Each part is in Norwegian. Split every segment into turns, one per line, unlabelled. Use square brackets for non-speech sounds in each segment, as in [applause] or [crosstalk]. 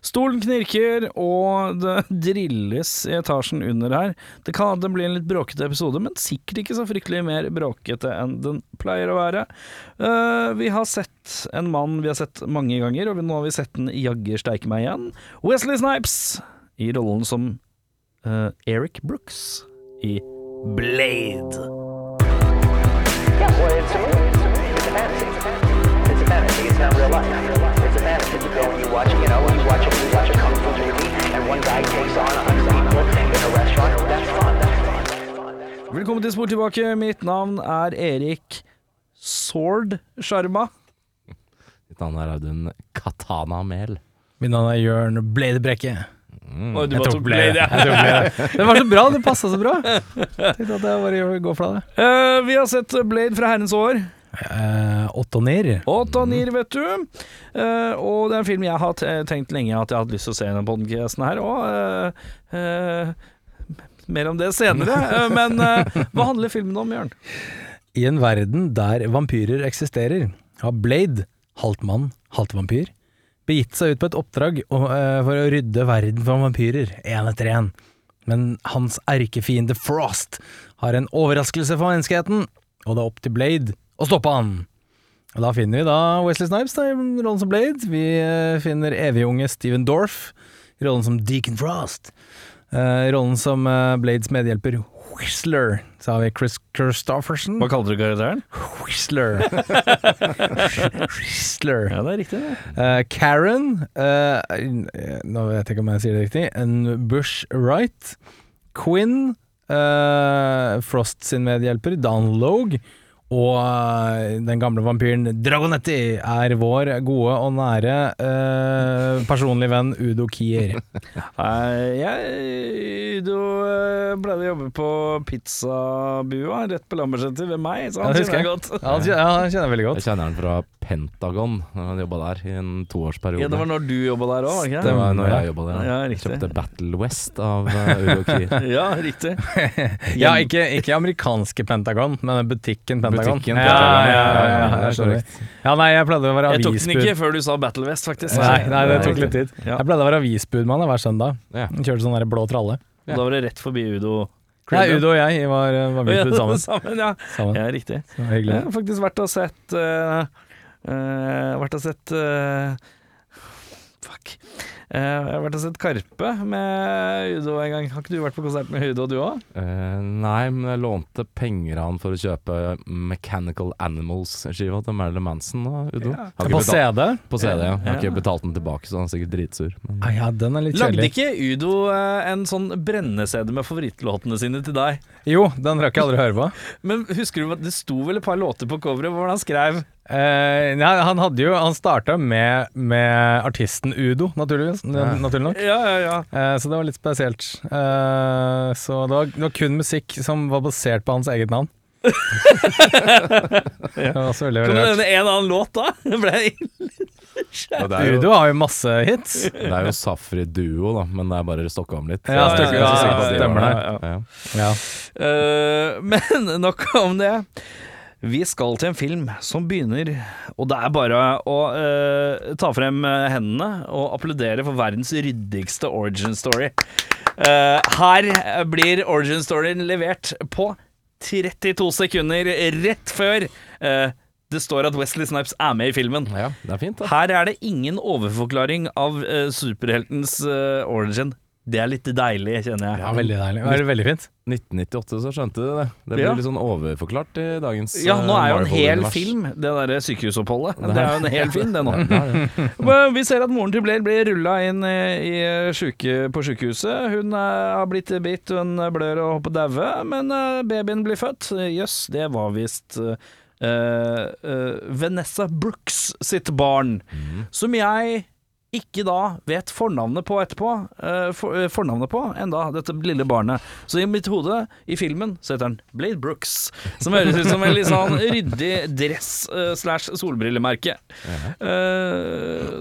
Stolen knirker, og det [laughs] drilles i etasjen under her. Det kan hende det blir en litt bråkete episode, men sikkert ikke så fryktelig mer bråkete enn den pleier å være. Eh, vi har sett en mann vi har sett mange ganger, og vi- nå har vi sett den jaggu steike meg igjen. Wesley Snipes i rollen som eh, Eric Brooks i Blade.
Yeah, well, it's a movie. It's a fantasy. It's a fantasy. It's not real life. It's a fantasy. You go and you watch, you know, you watch, you watch a kung fu movie, and one guy takes on a hundred people in a restaurant. That's fun. That's fun. That's fun.
Velkommen til Spor tilbake. Mitt navn er Erik Sword Sharma.
Mitt navn er Audun Katana-Mel.
Mitt navn er Jørn Bladebrekke.
Oi, du
Jeg
bare
tok Blade,
ja.
jeg tok Blade.
[laughs]
Det var så bra, det passa så bra. Tenkte at jeg bare går for det.
Eh, vi har sett Blade fra herrens år.
Eh, Otto Nier.
Åtte og
Mm.
nier, vet du. Eh, og det er en film jeg har te- tenkt lenge at jeg har hatt lyst til å se i denne podcasten her. Og eh, eh, mer om det senere. Eh, men eh, hva handler filmen om, Jørn?
I en verden der vampyrer eksisterer, har Blade, halvt mann, halvt vampyr, begitt seg ut på et oppdrag og, eh, for å rydde verden for vampyrer, én etter én. Men hans erkefiende Frost har en overraskelse for menneskeheten, og det er opp til Blade å stoppe han. Og da finner vi da Wesley Snipes da, i rollen som Blade. Vi eh, finner evigunge Steven Dorff i rollen som Deacon Frost. Eh, I rollen som eh, Blades medhjelper Whistler, så har vi Chris Christofferson.
kaller du karakteren?
Whistler. Whistler.
Ja, det er riktig, det.
Eh, Karen eh, Nå vet jeg ikke om jeg sier det riktig. En Bush Wright. Quinn. eh, Frost sin medhjelper, Dan Logue. Og eh, den gamle vampyren Dragonetti er vår gode og nære eh, personlige venn Udo Kier.
Nei, Eh, jeg du, eh, pleide å jobbe på pizzabua rett på Lambertseter ved meg, så han
Ja, det
kjenner
husker
jeg godt.
Ja, han kjenner, ja, han kjenner jeg veldig
Jeg
godt.
kjenner han fra Pentagon. Han jobba der i en toårsperiode.
Ja, det var når du jobba der òg, var det
Det
ikke?
var når jeg jobba der.
Ja, riktig.
Kjøpte Battle West av eh, Udo
[laughs]
Kier.
det? Ja, riktig.
Ja, ikke, ikke amerikanske Pentagon, men butikken Pentagon.
Butikken
ja,
Pentagon,
ja, ja, ja,
det er
jeg skjønner.
korrekt.
ja, nei, jeg pleide å være
Jeg tok den
avisbud.
ikke før du sa Battle West, faktisk.
Nei, nei, det tok litt tid.
Ja.
Jeg pleide å være avisbudmann jeg, hver søndag.
Ja.
Kjørte sånn der blå tralle.
Da var det rett forbi Udo.
Nei, Udo og jeg var, eh, var
Ja, [laughs]
avisbud [laughs] sammen.
sammen ja.
sammen.
ja, riktig.
Det var hyggelig.
Jeg har faktisk vært og sett eh, eh, Vært og sett eh, Fuck. Eh, jeg har vært og sett Karpe med Udo en gang. Har ikke du vært på konsert med Udo, du òg?
Eh, nei, men jeg lånte penger av han for å kjøpe Mechanical Animals-skiva til Marilyn Manson. Da, Udo. Har ikke
På
betalt-
CD?
på CD, ja. Har
Ja.
ikke betalt den tilbake, så han er sikkert dritsur. Men
Ah, ja, den er litt
Lagde
kjedelig.
ikke Udo eh, en sånn brennesede med favorittlåtene sine til deg?
Jo, den rakk jeg aldri å høre på.
Men husker du at det sto vel et par låter på coveret hvor han skrev
Eh, nei, han hadde jo Han starta med, med artisten Udo, naturligvis. n- Naturlig nok.
Ja, ja, ja.
Eh, så det var litt spesielt. Eh, så det var, det var kun musikk som var basert på hans eget navn. det var også veldig,
Kan du
veldig rart.
nevne en annen låt, da? [laughs] Det ble
Og det, er jo,
Udo har jo masse hits.
det er jo Safri Duo, da, men det er bare stokka om litt.
Ja, stokka-
Jeg synes
ja,
ikke at de
stemmer
var
det.
Ja.
Ja.
Eh, men [laughs] nok om det. Vi skal til en film som begynner, og det er bare å eh, ta frem eh, hendene og applaudere for verdens ryddigste origin story. Eh, her blir origin storyen levert på 32 sekunder rett før eh, det står at Wesley Snipes er med i filmen.
Ja, det er fint, da.
Her er det ingen overforklaring av eh, superheltens eh, origin. Det er litt deilig, kjenner jeg.
Ja, veldig deilig. Det er veldig fint.
1998 så skjønte de det. Det blir
Ja.
litt sånn overforklart i dagens eh,
Ja, nå er jo en hel
Marvel-univers.
film, det derre sykehusoppholdet.
Det er-
Det er jo en hel film, det
[laughs]
nå. [laughs] Men Vi ser at moren til Blair blir rulla inn eh, i syke, på sykehuset. Hun eh, har blitt bitt, hun eh, blør og hopper daue, men eh, babyen blir født. Jøss, det var visst eh, eh, Vanessa Brooks sitt barn,
Mm.
som jeg ikke da vet fornavnet på etterpå. eh, for, eh, fornavnet på enda dette lille barnet. Så i mitt hode, i filmen, så heter han Blade Brooks. Som høres ut som en litt sånn ryddig dress eh, slash solbrillemerke. Eh,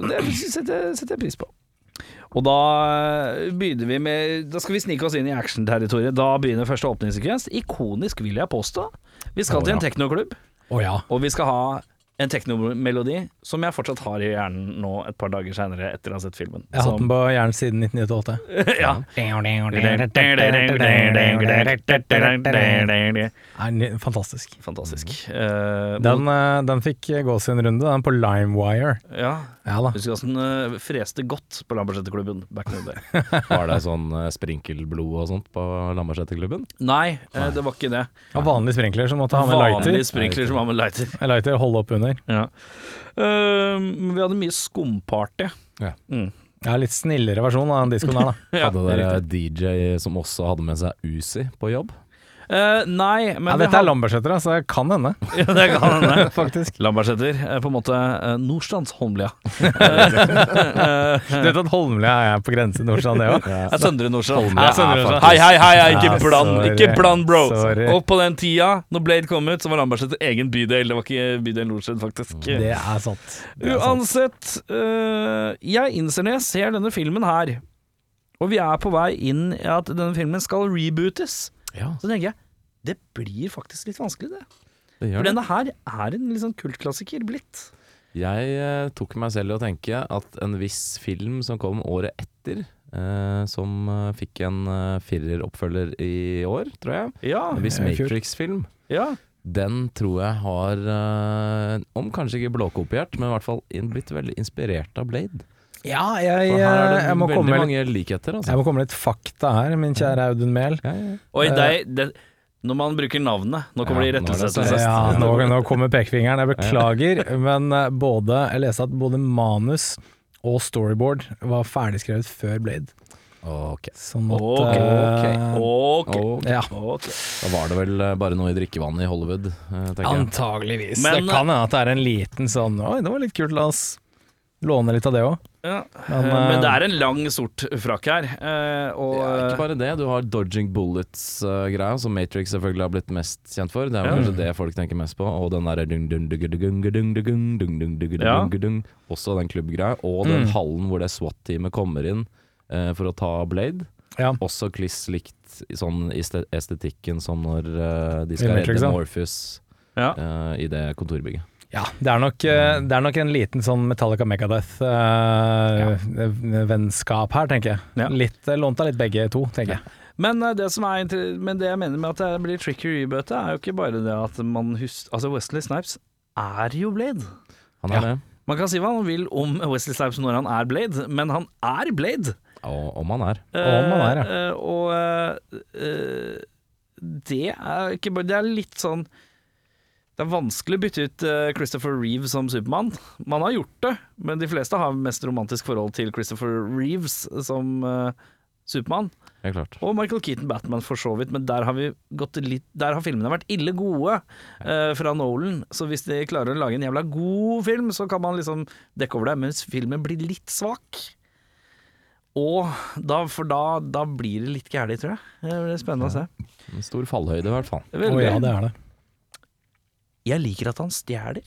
det setter, setter jeg pris på. Og da eh, begynner vi med Da skal vi snike oss inn i actionterritoriet. Da begynner første åpningssekvens. Ikonisk, vil jeg påstå. Vi skal
Å,
til en
ja.
teknoklubb,
Å ja.
og vi skal ha en teknomelodi som jeg fortsatt har i hjernen nå et par dager seinere etter å ha sett filmen.
Jeg har hatt
Som-
den på hjernen siden 1998.
ja.
Er den fantastisk.
Fantastisk. Eh,
Den, eh, den fikk gå sin runde, den på Limewire.
ja.
Ja da.
Husker hvordan den freste godt på Lambertseterklubben back in the day.
Var det sånn eh, sprinkelblod og sånt på Lambertseterklubben?
Nei, eh, det var ikke det.
Og vanlig sprinkler som måtte ha med
Vanlige
lighter.
sprinkler som har med lighter.
Lighter å holde opp under.
Ja. Eh, men vi hadde mye skumparty.
Ja.
Mm.
Ja, litt snillere versjon av den diskoen her, da.
Ja,
Hadde dere DJ som også hadde med seg Uzi på jobb?
Eh, nei, men
Ja,
vi
dette er
hadde-
Lambertseter, så det kan hende.
Ja, det kan hende.
[laughs] Faktisk.
[laughs] Lambertseter, eh, på en måte eh, Nordstrands Holmlia.
Du vet at Holmlia er på grense til Nordstrand, det òg?
Ja, Søndre Nordstrand.
Ja, Søndre Nordstrand.
Hei, hei, hei, hei, ikke
Ja,
bland,
sorry.
ikke bland, bro.
Sorry.
Og på den tida, når Blade kom ut, så var Lambertseter egen bydel. Det var ikke bydel Nordstrand, faktisk.
Det er sant. Det er sant.
Uansett, øh, jeg innser når jeg ser denne filmen her, og vi er på vei inn i at denne filmen skal rebootes,
Ja,
så tenker jeg det blir faktisk litt vanskelig, det.
det
For
gjør det.
denne her er en litt sånn kultklassiker blitt.
Jeg eh, tok meg selv i å tenke at en viss film som kom året etter, eh, som eh, fikk en eh, fireroppfølger i år, tror jeg,
Ja.
en viss
det er kult.
Matrix-film,
ja.
den tror jeg har, eh, om kanskje ikke blåkopiert, men i hvert fall in- blitt veldig inspirert av Blade.
Ja, jeg,
For
eh,
her er det
jeg, må
veldig
komme med litt,
mange likheter, altså.
jeg må komme med litt fakta her, min kjære Audun Mehl.
Ja, ja.
Oi, det, er- det, når man bruker navnet Nå kommer
Ja,
det
nå er det
rettelsettelse.
sant.
Ja, nå, nå kommer pekefingeren. Jeg beklager, men eh, både, jeg leste at både manus og storyboard var ferdigskrevet før Blade.
Ok.
Sånn at
Ok,
eh,
ok.
Og
Ja.
ok.
da var det vel eh, bare noe i drikkevannet i Hollywood, eh, tenker jeg.
Antageligvis.
Men-
det kan hende at det er en liten sånn Oi, det var litt kult, la oss låne litt av det òg.
Ja.
Men,
eh, Men det
eh,
er en lang, sort frakk her. eh, Og
Ja, ikke bare det, du har dodging bullets-greia, som Matrix selvfølgelig har blitt mest kjent for. Det er
Ja.
jo kanskje det folk tenker mest på. Og den derre dung, dung, dung, dung, dung, dung, dung, dung, dung,
Ja.
dung, dung. Også den klubbgreia. Og den hallen hvor det SWAT-teamet kommer inn eh, for å ta Blade.
Ja.
Også kliss likt i sånn este- estetikken som når eh, de
I
skal
Matrix,
redde
ja.
Morpheus
ja.
eh, i det kontorbygget.
Ja, det er, nok, eh, det er nok en liten sånn Metallica Megadeth-vennskap her, tenker jeg.
Ja.
Litt, eh, lånt av litt begge to, tenker jeg.
Men eh, det, som er, inter- men det jeg mener med at det blir tricky rebøte, er jo ikke bare det at man husker Altså, Wesley Snipes er jo Blade.
Han
Ja.
er det.
Man kan si hva man vil om Wesley Snipes når han er Blade, men han er Blade.
Og om han er.
Om han er, ja.
Eh, eh, og eh, eh, det er ikke bare Det er litt sånn Det er vanskelig å bytte ut eh, Christopher Reeve som Supermann. Man har gjort det, men de fleste har mest romantisk forhold til Christopher Reeves som eh, Supermann.
Helt klart.
Og Michael Keaton Batman for så vidt, men der har, vi gått litt, der har filmene vært ille gode eh, fra Nolan. Så hvis de klarer å lage en jævla god film, så kan man liksom dekke over det, mens filmen blir litt svak. Og da, for da, da blir det litt gærlig, tror jeg. Det blir spennende å se.
En stor fallhøyde, i hvert fall.
Å
Veldig.
ja, det er det.
Jeg liker at han stjeler.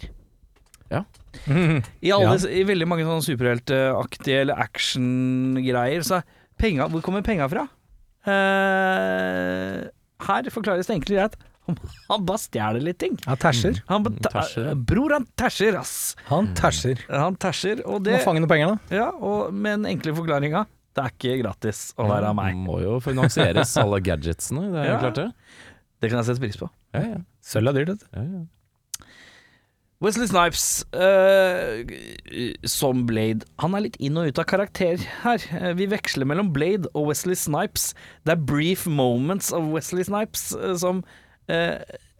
Ja.
[laughs] I, alle,
Ja.
disse- I veldig mange sånne superheltaktige eller actiongreier, så er penga Hvor kommer penga fra? Eh, her forklares det enkelt og greit. Han- Han bare stjeler litt ting.
Han tæsjer.
Han bare ta-
Tæsjer, ja.
Bror, han tæsjer, ass.
Mm. Han tæsjer.
Han tæsjer, og
Må
det
fange noen penger, da.
ja, og Med den enkle forklaringa det er ikke gratis å være meg.
Må jo
[laughs]
finansieres, alle gadgetsene. Det er jo
Ja.
klart, det.
Det kan jeg sette pris på.
Ja, ja.
Sølv er dyrt, vet du.
ja, ja.
Wesley Snipes eh, som Blade. Han er litt inn og ut av karakter her. Eh, Vi veksler mellom Blade og Wesley Snipes. Det er brief moments av Wesley Snipes eh, som eh,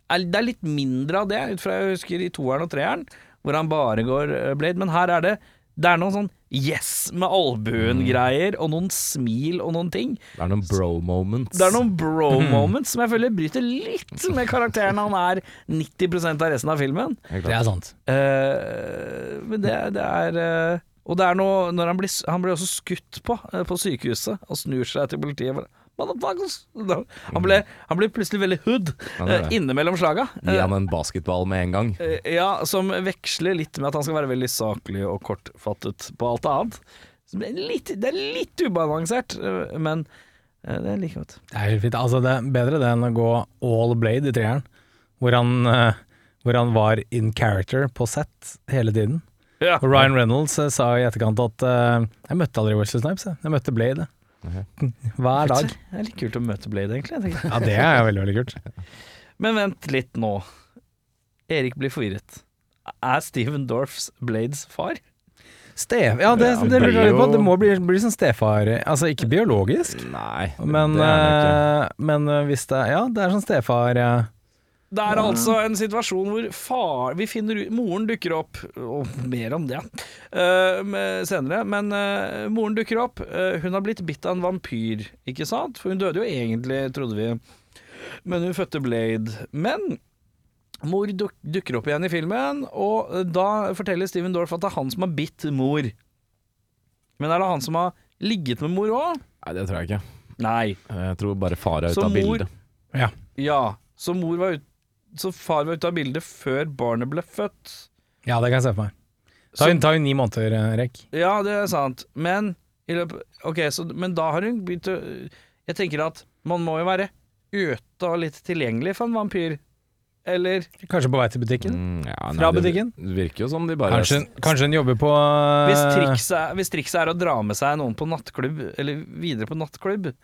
er, Det er litt mindre av det, ut fra jeg husker i toeren og treeren, hvor han bare går eh, Blade. Men her er det Det er noen sånn yes med albuen-greier, og noen smil og noen ting.
Det er noen bro moments.
Det er noen bro moments som jeg føler bryter litt med karakteren han er 90 av resten av filmen.
Helt
Det
klart.
er sant.
Eh, men det, det er eh, Og det er noe når han blir, s- han blir også skutt på eh, på sykehuset og snur seg til politiet. Bare, "Motherfuckers!" han, ble, han ble plutselig veldig hood
Ja, det er
eh,
det.
innimellom slaga.
Gi han en basketball med en gang.
Eh, ja, som veksler litt med at han skal være veldig saklig og kortfattet på alt annet. Så det, er litt, det er litt ubalansert, eh, men eh, det er like godt.
Det er helt fint. Altså, det er bedre det enn å gå all blade i treeren, hvor han eh, hvor han var in character på set hele tiden.
Ja.
Og Ryan Reynolds eh, sa i etterkant at eh, jeg møtte aldri Wesley Snipes, jeg. jeg møtte Blade. jeg. Hver dag.
Det er litt kult å møte Blade, egentlig. tenker jeg.
Ja, det er jo veldig, veldig kult.
Men vent litt nå. Erik blir forvirret. Er Steven Dorffs Blades far?
Stef, ja, det,
Ja,
det lurer jeg litt på.
bio-
Det må bli, bli sånn stefar Altså ikke biologisk,
Nei, det-
men,
det er
eh, men eh, hvis det Ja, det er sånn stefar eh,
Det er altså en situasjon hvor far Vi finner ut Moren dukker opp, og mer om det eh, med- senere, men eh, moren dukker opp. eh, hun har blitt bitt av en vampyr, ikke sant? For hun døde jo egentlig, trodde vi, men hun fødte Blade. Men mor duk dukker opp igjen i filmen, og eh, da forteller Steven Dorff at det er han som har bitt mor. Men er det han som har ligget med mor òg?
Nei, det tror jeg ikke.
Nei.
Jeg tror bare far er
eh, Så
ute av
mor-
bildet.
Ja.
Ja, så mor var ut Så far var ute av bildet før barnet ble født.
Ja, det kan jeg se for meg.
Så-
Ta jo ta jo ni måneder, eh, Rek.
Ja, det er sant, men i løpet, Ok, så, men da har hun begynt å Jeg tenker at man må jo være øte og litt tilgjengelig for en vampyr. Eller
Kanskje på vei til butikken?
Mm, ja, nei,
Fra
det
butikken?
Virker jo som de bare
Kanskje, kanskje hun jobber på eh,
hvis trikset, er, hvis trikset er å dra med seg noen på nattklubb, eller videre på nattklubb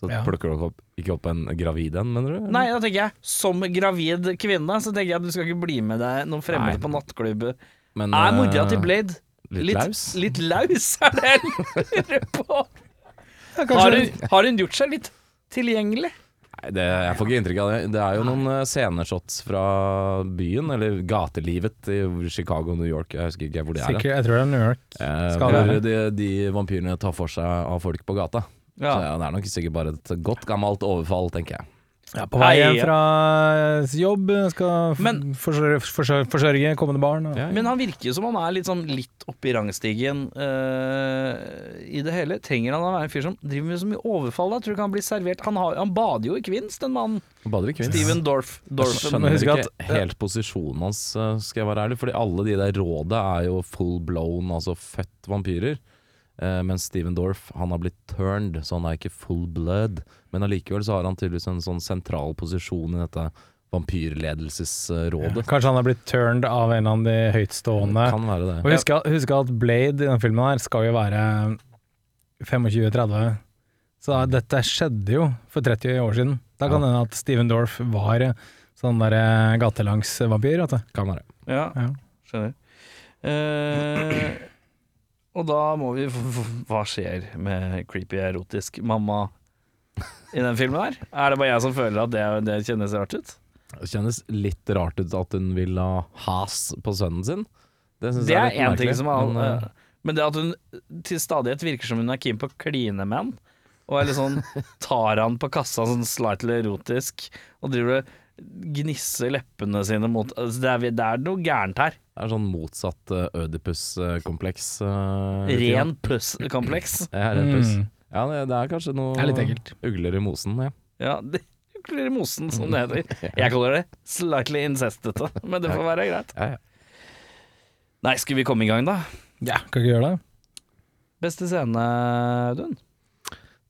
Så
Ja.
plukker dere opp, ikke opp en gravid en, mener du?
Nei, da tenker jeg som gravid kvinne, så tenker jeg at du skal ikke bli med deg noen fremmede
Nei.
på nattklubb.
Men,
Er
eh,
mora til Blade
Litt, laus?
Litt laus er det jeg lurer på.
Ja, kanskje-
Har hun, har hun gjort seg litt tilgjengelig?
Nei, det, jeg får ikke inntrykk av det. Det er jo noen eh, sceneshots fra byen, eller gatelivet i Chicago, New York, jeg husker ikke hvor det er.
Sikkert, jeg tror det er New York.
da. Eh,
skal
hvor
det
de, de vampyrene tar for seg av folk på gata. Så ja, det er nok sikkert bare et godt gammelt overfall, tenker jeg.
Ja, på vei hjem
Hei.
fra eh, jobb, skal f-
Men-
forsørge, forsørge, forsørge kommende barn. Og.
Men han virker jo som han er litt, sånn litt oppe i rangstigen eh, i det hele. Trenger han å være en fyr som driver med så mye overfall? da? Tror du ikke han blir servert Han, har, han bader jo i kvinst, den mannen.
Bader i kvinns.
Steven Dorff.
Jeg
Dorfen.
skjønner
husk
ikke
at-
helt posisjonen hans, eh, skal jeg være ærlig. Fordi alle de der råda er jo full blown, altså født vampyrer. Eh, mens Steven Dorff han har blitt turned, så han er ikke full blood. Men allikevel så har han tydeligvis en sånn sentral posisjon i dette vampyrledelsesrådet.
Kanskje han har blitt turned av en av de høytstående.
Kan være det.
Og husk, at- husk at Blade i denne filmen her skal jo være 25-30. Så da- dette skjedde jo for 30 år siden. Da kan det hende at Steven Dorff var sånn der gatelangsvampyr. vet du.
Kan være.
Ja,
Ja.
skjønner. Eh, og da må vi Hva skjer med creepy erotisk mamma i den filmen her? Er det bare jeg som føler at det, det kjennes rart ut?
Det kjennes litt rart ut at hun vil ha has på sønnen sin. Det,
Det
synes jeg
er
litt
én ting
merkelig,
som er
men, eh,
Men det at hun til stadighet virker som hun er keen på å kline med han, og er litt sånn
[laughs]
tar han på kassa sånn slightly erotisk, og driver og gnisser leppene sine mot altså, det, er, det er noe gærent her.
Det er sånn motsatt eh, Ødipus-kompleks. eh,
Ren puss-kompleks.
Ja, ren puss.
Mm.
Ja, det, det er kanskje noe
Det er litt ekkelt.
ugler i mosen. Ja.
Ja, [laughs] det Ukler i mosen, som det
[laughs]
heter. Jeg kaller det slightly incestete, men det får være greit.
Ja, ja.
Nei, skal vi komme i gang, da?
Ja, kan ikke gjøre det.
Beste scene, Audun?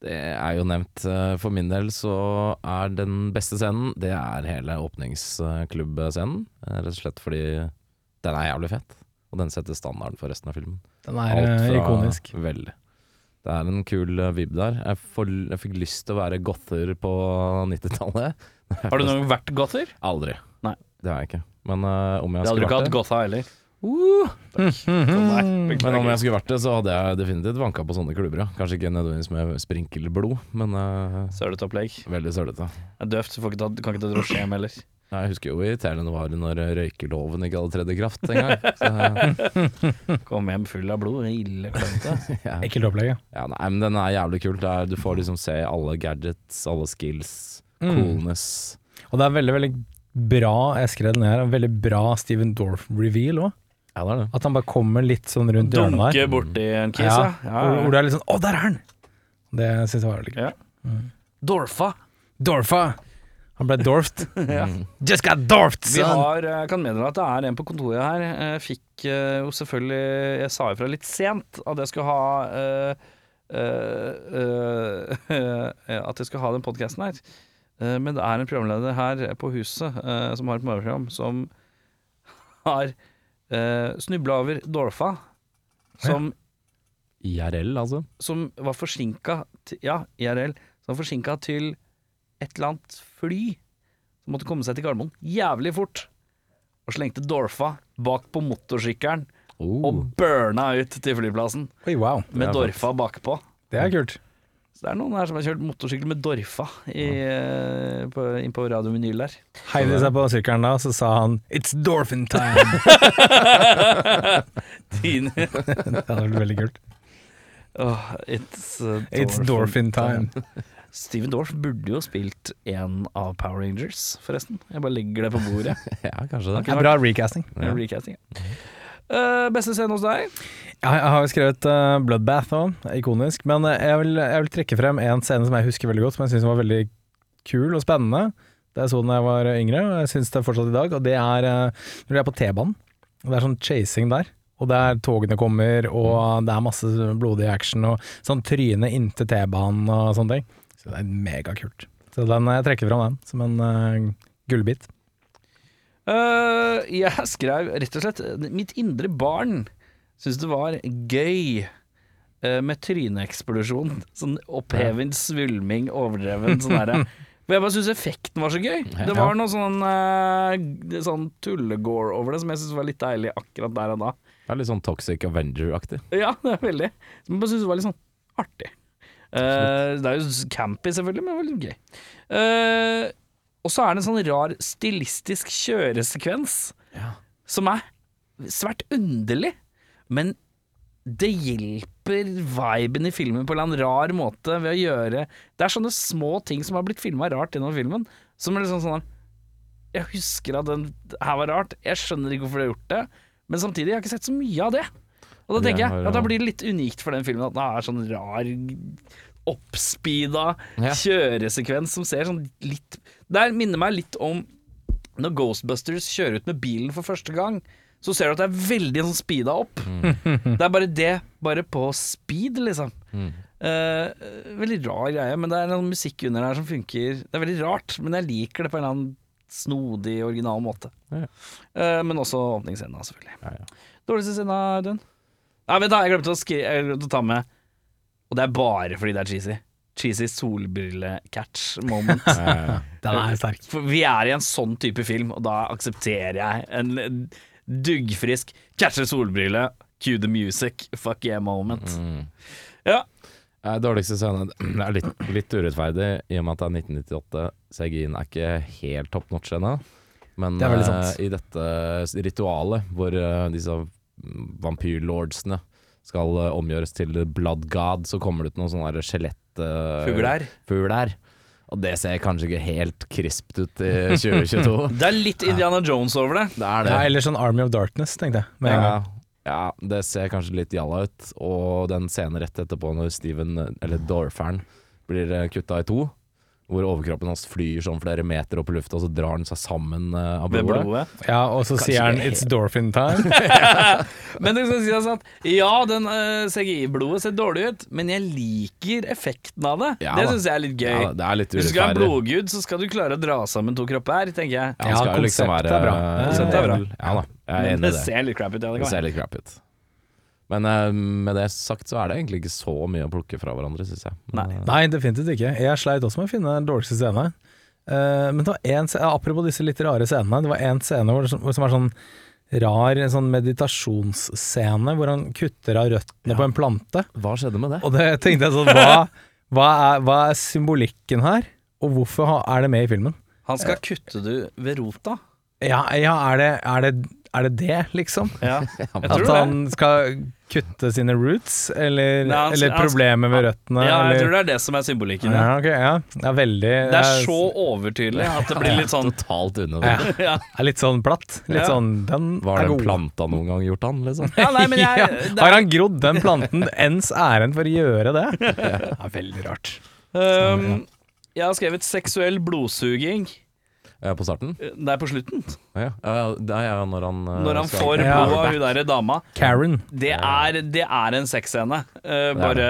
Det er jo nevnt. eh, For min del så er den beste scenen Det er hele åpningsklubbscenen. eh, Rett og slett fordi den er jævlig fett, og den setter standarden for resten av filmen.
Den er eh, ikonisk.
Veldig. Det er en kul eh, vibb der. Jeg, får, jeg fikk lyst til å være gother på 90-tallet.
Har du noen gang vært gother?
[laughs] Aldri.
Nei.
Det har jeg ikke. Men eh, om jeg
Det hadde du
skulle
ikke hatt
vært det Mm.
gotha heller.
Men om jeg skulle vært det, så hadde jeg definitivt vanka på sånne klubber. Ja. Kanskje ikke nødvendigvis med sprinkelblod, men eh,
Sølete opplegg.
veldig sølete.
Det er døvt, du får ikke ta, du kan ikke ta drosjem heller.
Jeg husker jo i Telenor når røykeloven ikke hadde tredd i kraft en [laughs] gang. Så,
Kom hjem full av blod, det er ille klemt.
[laughs]
det.
ja.
Ekkelt opplegg, ja.
Ja, nei, men den er jævlig kul. Det er- Du får liksom se alle gadgets, alle skills, coolness.
Og det er veldig, veldig bra jeg skrev den her, og veldig bra Steven Dorff-reveal òg.
Ja, det er det.
At han bare kommer litt sånn rundt hjørnet
Dunke
der.
borti en kis,
Ja,
ja. ja,
Hvor- Hvor
ja.
det er litt sånn Å, der er han! Det syns jeg var veldig gøy.
Ja. Dorfa.
Dorfa! Han ble dorfed.
[laughs] Ja.
Just got dorfed,
Vi
son!
har, jeg kan meddele at det er en på kontoret her. eh, Fikk eh, jo selvfølgelig Jeg sa ifra litt sent at jeg skulle ha [laughs] eh, eh, eh, At jeg skulle ha den podkasten her. Eh, Men det er en programleder her på huset eh, som har et morgenprogram, som har eh, snubla over Dorfa, som,
IRL, altså.
som var forsinka til, Ja, IRL. Som var forsinka til et eller annet fly som måtte komme seg til Gardermoen jævlig fort. Og slengte Dorfa bak på motorsykkelen og
Oh.
burna ut til flyplassen
Oi, wow.
med
Det er
Dorfa bakpå.
Det er kult.
Så det er noen her som har kjørt motorsykkel med Dorfa i, eh, på, inn på Radio Vinyl der.
Heiv de seg på sykkelen da, så sa han 'It's Dorfin time'. [laughs]
Din-
det hadde vært veldig kult.
Åh, it's, uh,
It's
Dorfin
Dorfin time.
Steven Dorff burde jo spilt en av Power Rangers, forresten. Jeg bare legger det på bordet.
Ja, kanskje det.
Det er bra recasting.
Det er Recasting. Eh, beste scene hos deg?
Jeg har- jeg har jo skrevet eh, Bloodbath òg, ikonisk. Men eh, jeg vil, jeg vil trekke frem en scene som jeg husker veldig godt, som jeg syns var veldig kul og spennende. Det jeg så da jeg var yngre, og jeg syns det fortsatt i dag. Og det er eh, når de er på T-banen. Og Det er sånn chasing der. Og der togene kommer, og det er masse blodig action og sånn tryne inntil T-banen og sånne ting. Så det er megakult. Så den, eh, jeg trekker frem den som en eh, gullbit.
Eh, jeg skrev rett og slett Mitt indre barn syntes det var gøy eh, med tryneeksplosjon. Sånn opphevet svulming, overdreven sånn derre. For jeg bare syns effekten var så gøy. Det var noe sånn, uh, sånn tullegore over det som jeg syntes var litt deilig akkurat der og da.
Det er litt sånn Toxic Avenger-aktig.
[laughs]
[laughs]
Ja, det er veldig. Men jeg bare synes det var litt sånn artig. Eh, det er jo campy selvfølgelig, men det var litt gøy. Eh, og så er det en sånn rar stilistisk kjøresekvens som er svært underlig, men det hjelper viben i filmen på en eller annen rar måte ved å gjøre Det er sånne små ting som har blitt filma rart gjennom filmen, som er liksom sånn Jeg husker at den her var rart, jeg skjønner ikke hvorfor de har gjort det, men samtidig, jeg har ikke sett så mye av det. Og da
Det
tenker
har
jeg at da
jeg-
blir det litt unikt for den filmen at den er sånn rar, oppspeeda
Ja.
kjøresekvens som ser sånn litt Der minner meg litt om når Ghostbusters kjører ut med bilen for første gang, så ser du at det er veldig sånn speeda opp.
Mm.
det er bare det, bare på speed, liksom. Eh, veldig rar greie, men det er noe musikk under her som funker. Det er veldig rart, men jeg liker det på en eller annen snodig, original måte.
Ja.
Eh, men også åpningsscenen, da, selvfølgelig.
Ja, ja.
Dårligste scenen, Audun? Nei, vent, da, jeg glemte å, skri jeg glemte å ta med Og det er bare fordi det er cheesy. Cheesy solbrille-catch
[laughs]
moment.
Den er sterk.
For vi er i en sånn type film, og da aksepterer jeg en duggfrisk catcher solbrille, cue the music, fuck yeah moment. Ja.
Eh, Dårligste scene [clears throat] Det er litt, litt urettferdig i og med at det er 1998. CGI-en er ikke helt top notch ennå. Men
Det er
eh,
veldig sant.
i dette ritualet hvor eh, disse vampyrlordsene skal eh, omgjøres til blood god, så kommer det ut noen sånne der skjelett... eh,
Fugler.
fugler. Og det ser kanskje ikke helt krispt ut i [laughs] 2022.
Det er litt Indiana Jones over det.
det er det.
Ja, eller sånn Army of Darkness, tenkte jeg. Med en gang.
Ja, ja, det ser kanskje litt jalla ut. Og den scenen rett etterpå, når Steven, eller Dorfern, blir eh, kutta i to, hvor overkroppen hans flyr sånn flere meter opp i lufta, og så drar den seg sammen eh, av
Med
blodet.
blodet.
Ja, og så sier han 'It's Dorfin time'.
Men det skal sies at ja, den eh, CGI-blodet ser dårlig ut, men jeg liker effekten av det.
Ja
det
da.
syns jeg er litt gøy.
Ja, det er litt
Hvis du skal ha en
urettferdig.
blodgud, så skal du klare å dra sammen to kropper, tenker jeg.
Ja,
Ja,
han skal jo liksom
konseptet
være
er bra.
eh,
Konseptet er bra.
Ja da, jeg er
Men
enig
det
i det.
ser litt crap ut. Ja, det
Det
kan
ser
være.
litt crap ut. Men eh, med det sagt så er det egentlig ikke så mye å plukke fra hverandre, syns jeg. Men,
Nei.
eh,
Nei, definitivt ikke. Jeg sleit også med å finne den dårligste scenen. Eh, men det var en, sc- ja, apropos disse litt rare scenene, det var en scene hvor, det som, som er sånn rar, en sånn meditasjonsscene, hvor han kutter av røttene på en plante.
Hva skjedde med det?
Og det tenkte jeg
[laughs]
sånn, hva, hva, er, hva er symbolikken her? Og hvorfor ha, er det med i filmen?
Han skal kutte du ved rota.
Ja, ja er, det, er, det, er det det, liksom?
[laughs] Ja. Jeg tror
At
det.
han skal kutte sine roots, eller,
Nei, han skal-
eller
han skal-
problemet med røttene?
ja, jeg
eller,
tror det er det som er symbolikken.
ja,
Ja.
ok, ja. Det er veldig
Det er så overtydelig at det blir litt sånn
Totalt unødvendig.
[laughs]
[laughs] ja.
ja.
er litt sånn platt. Litt
Ja.
sånn Den
Var
er
den
god.
planta noen gang gjort han, liksom?
ja, nei, men jeg,
[laughs] ja.
det er-
Har han grodd den
[laughs]
planten ens ærend for å gjøre det? Det er veldig rart.
Øhm, um, jeg har skrevet 'seksuell blodsuging'.
Eh, På starten?
Det er på slutten,
Ja, ja, ja, det er ja, når han eh,
når han
skal-
får
Ja.
blod av hun derre dama.
Karen.
Det er, det er en sexscene. Uh, bare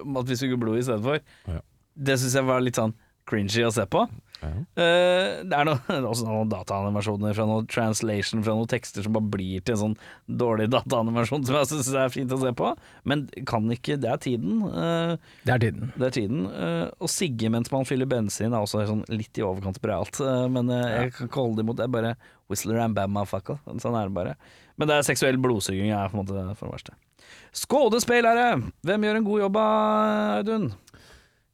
at vi suger blod istedenfor.
Ja.
Det syns jeg var litt sånn cringy å se på. Eh, det er noe- [laughs] også noen dataanimasjoner fra noen translation fra noen tekster som bare blir til en sånn dårlig dataanimasjon som jeg syns er fint å se på, men kan ikke Det er tiden. eh,
Det er tiden.
det er tiden. eh, og sigge mens man fyller bensin er også sånn litt i overkant bralt, eh, men eh, jeg kan ikke holde det imot. Det er bare Whistler and Bam Mafaka. Sånn er det bare. Men det er seksuell blodsuging er på en måte for det verste. Skådespillere! Hvem gjør en god jobb av Audun?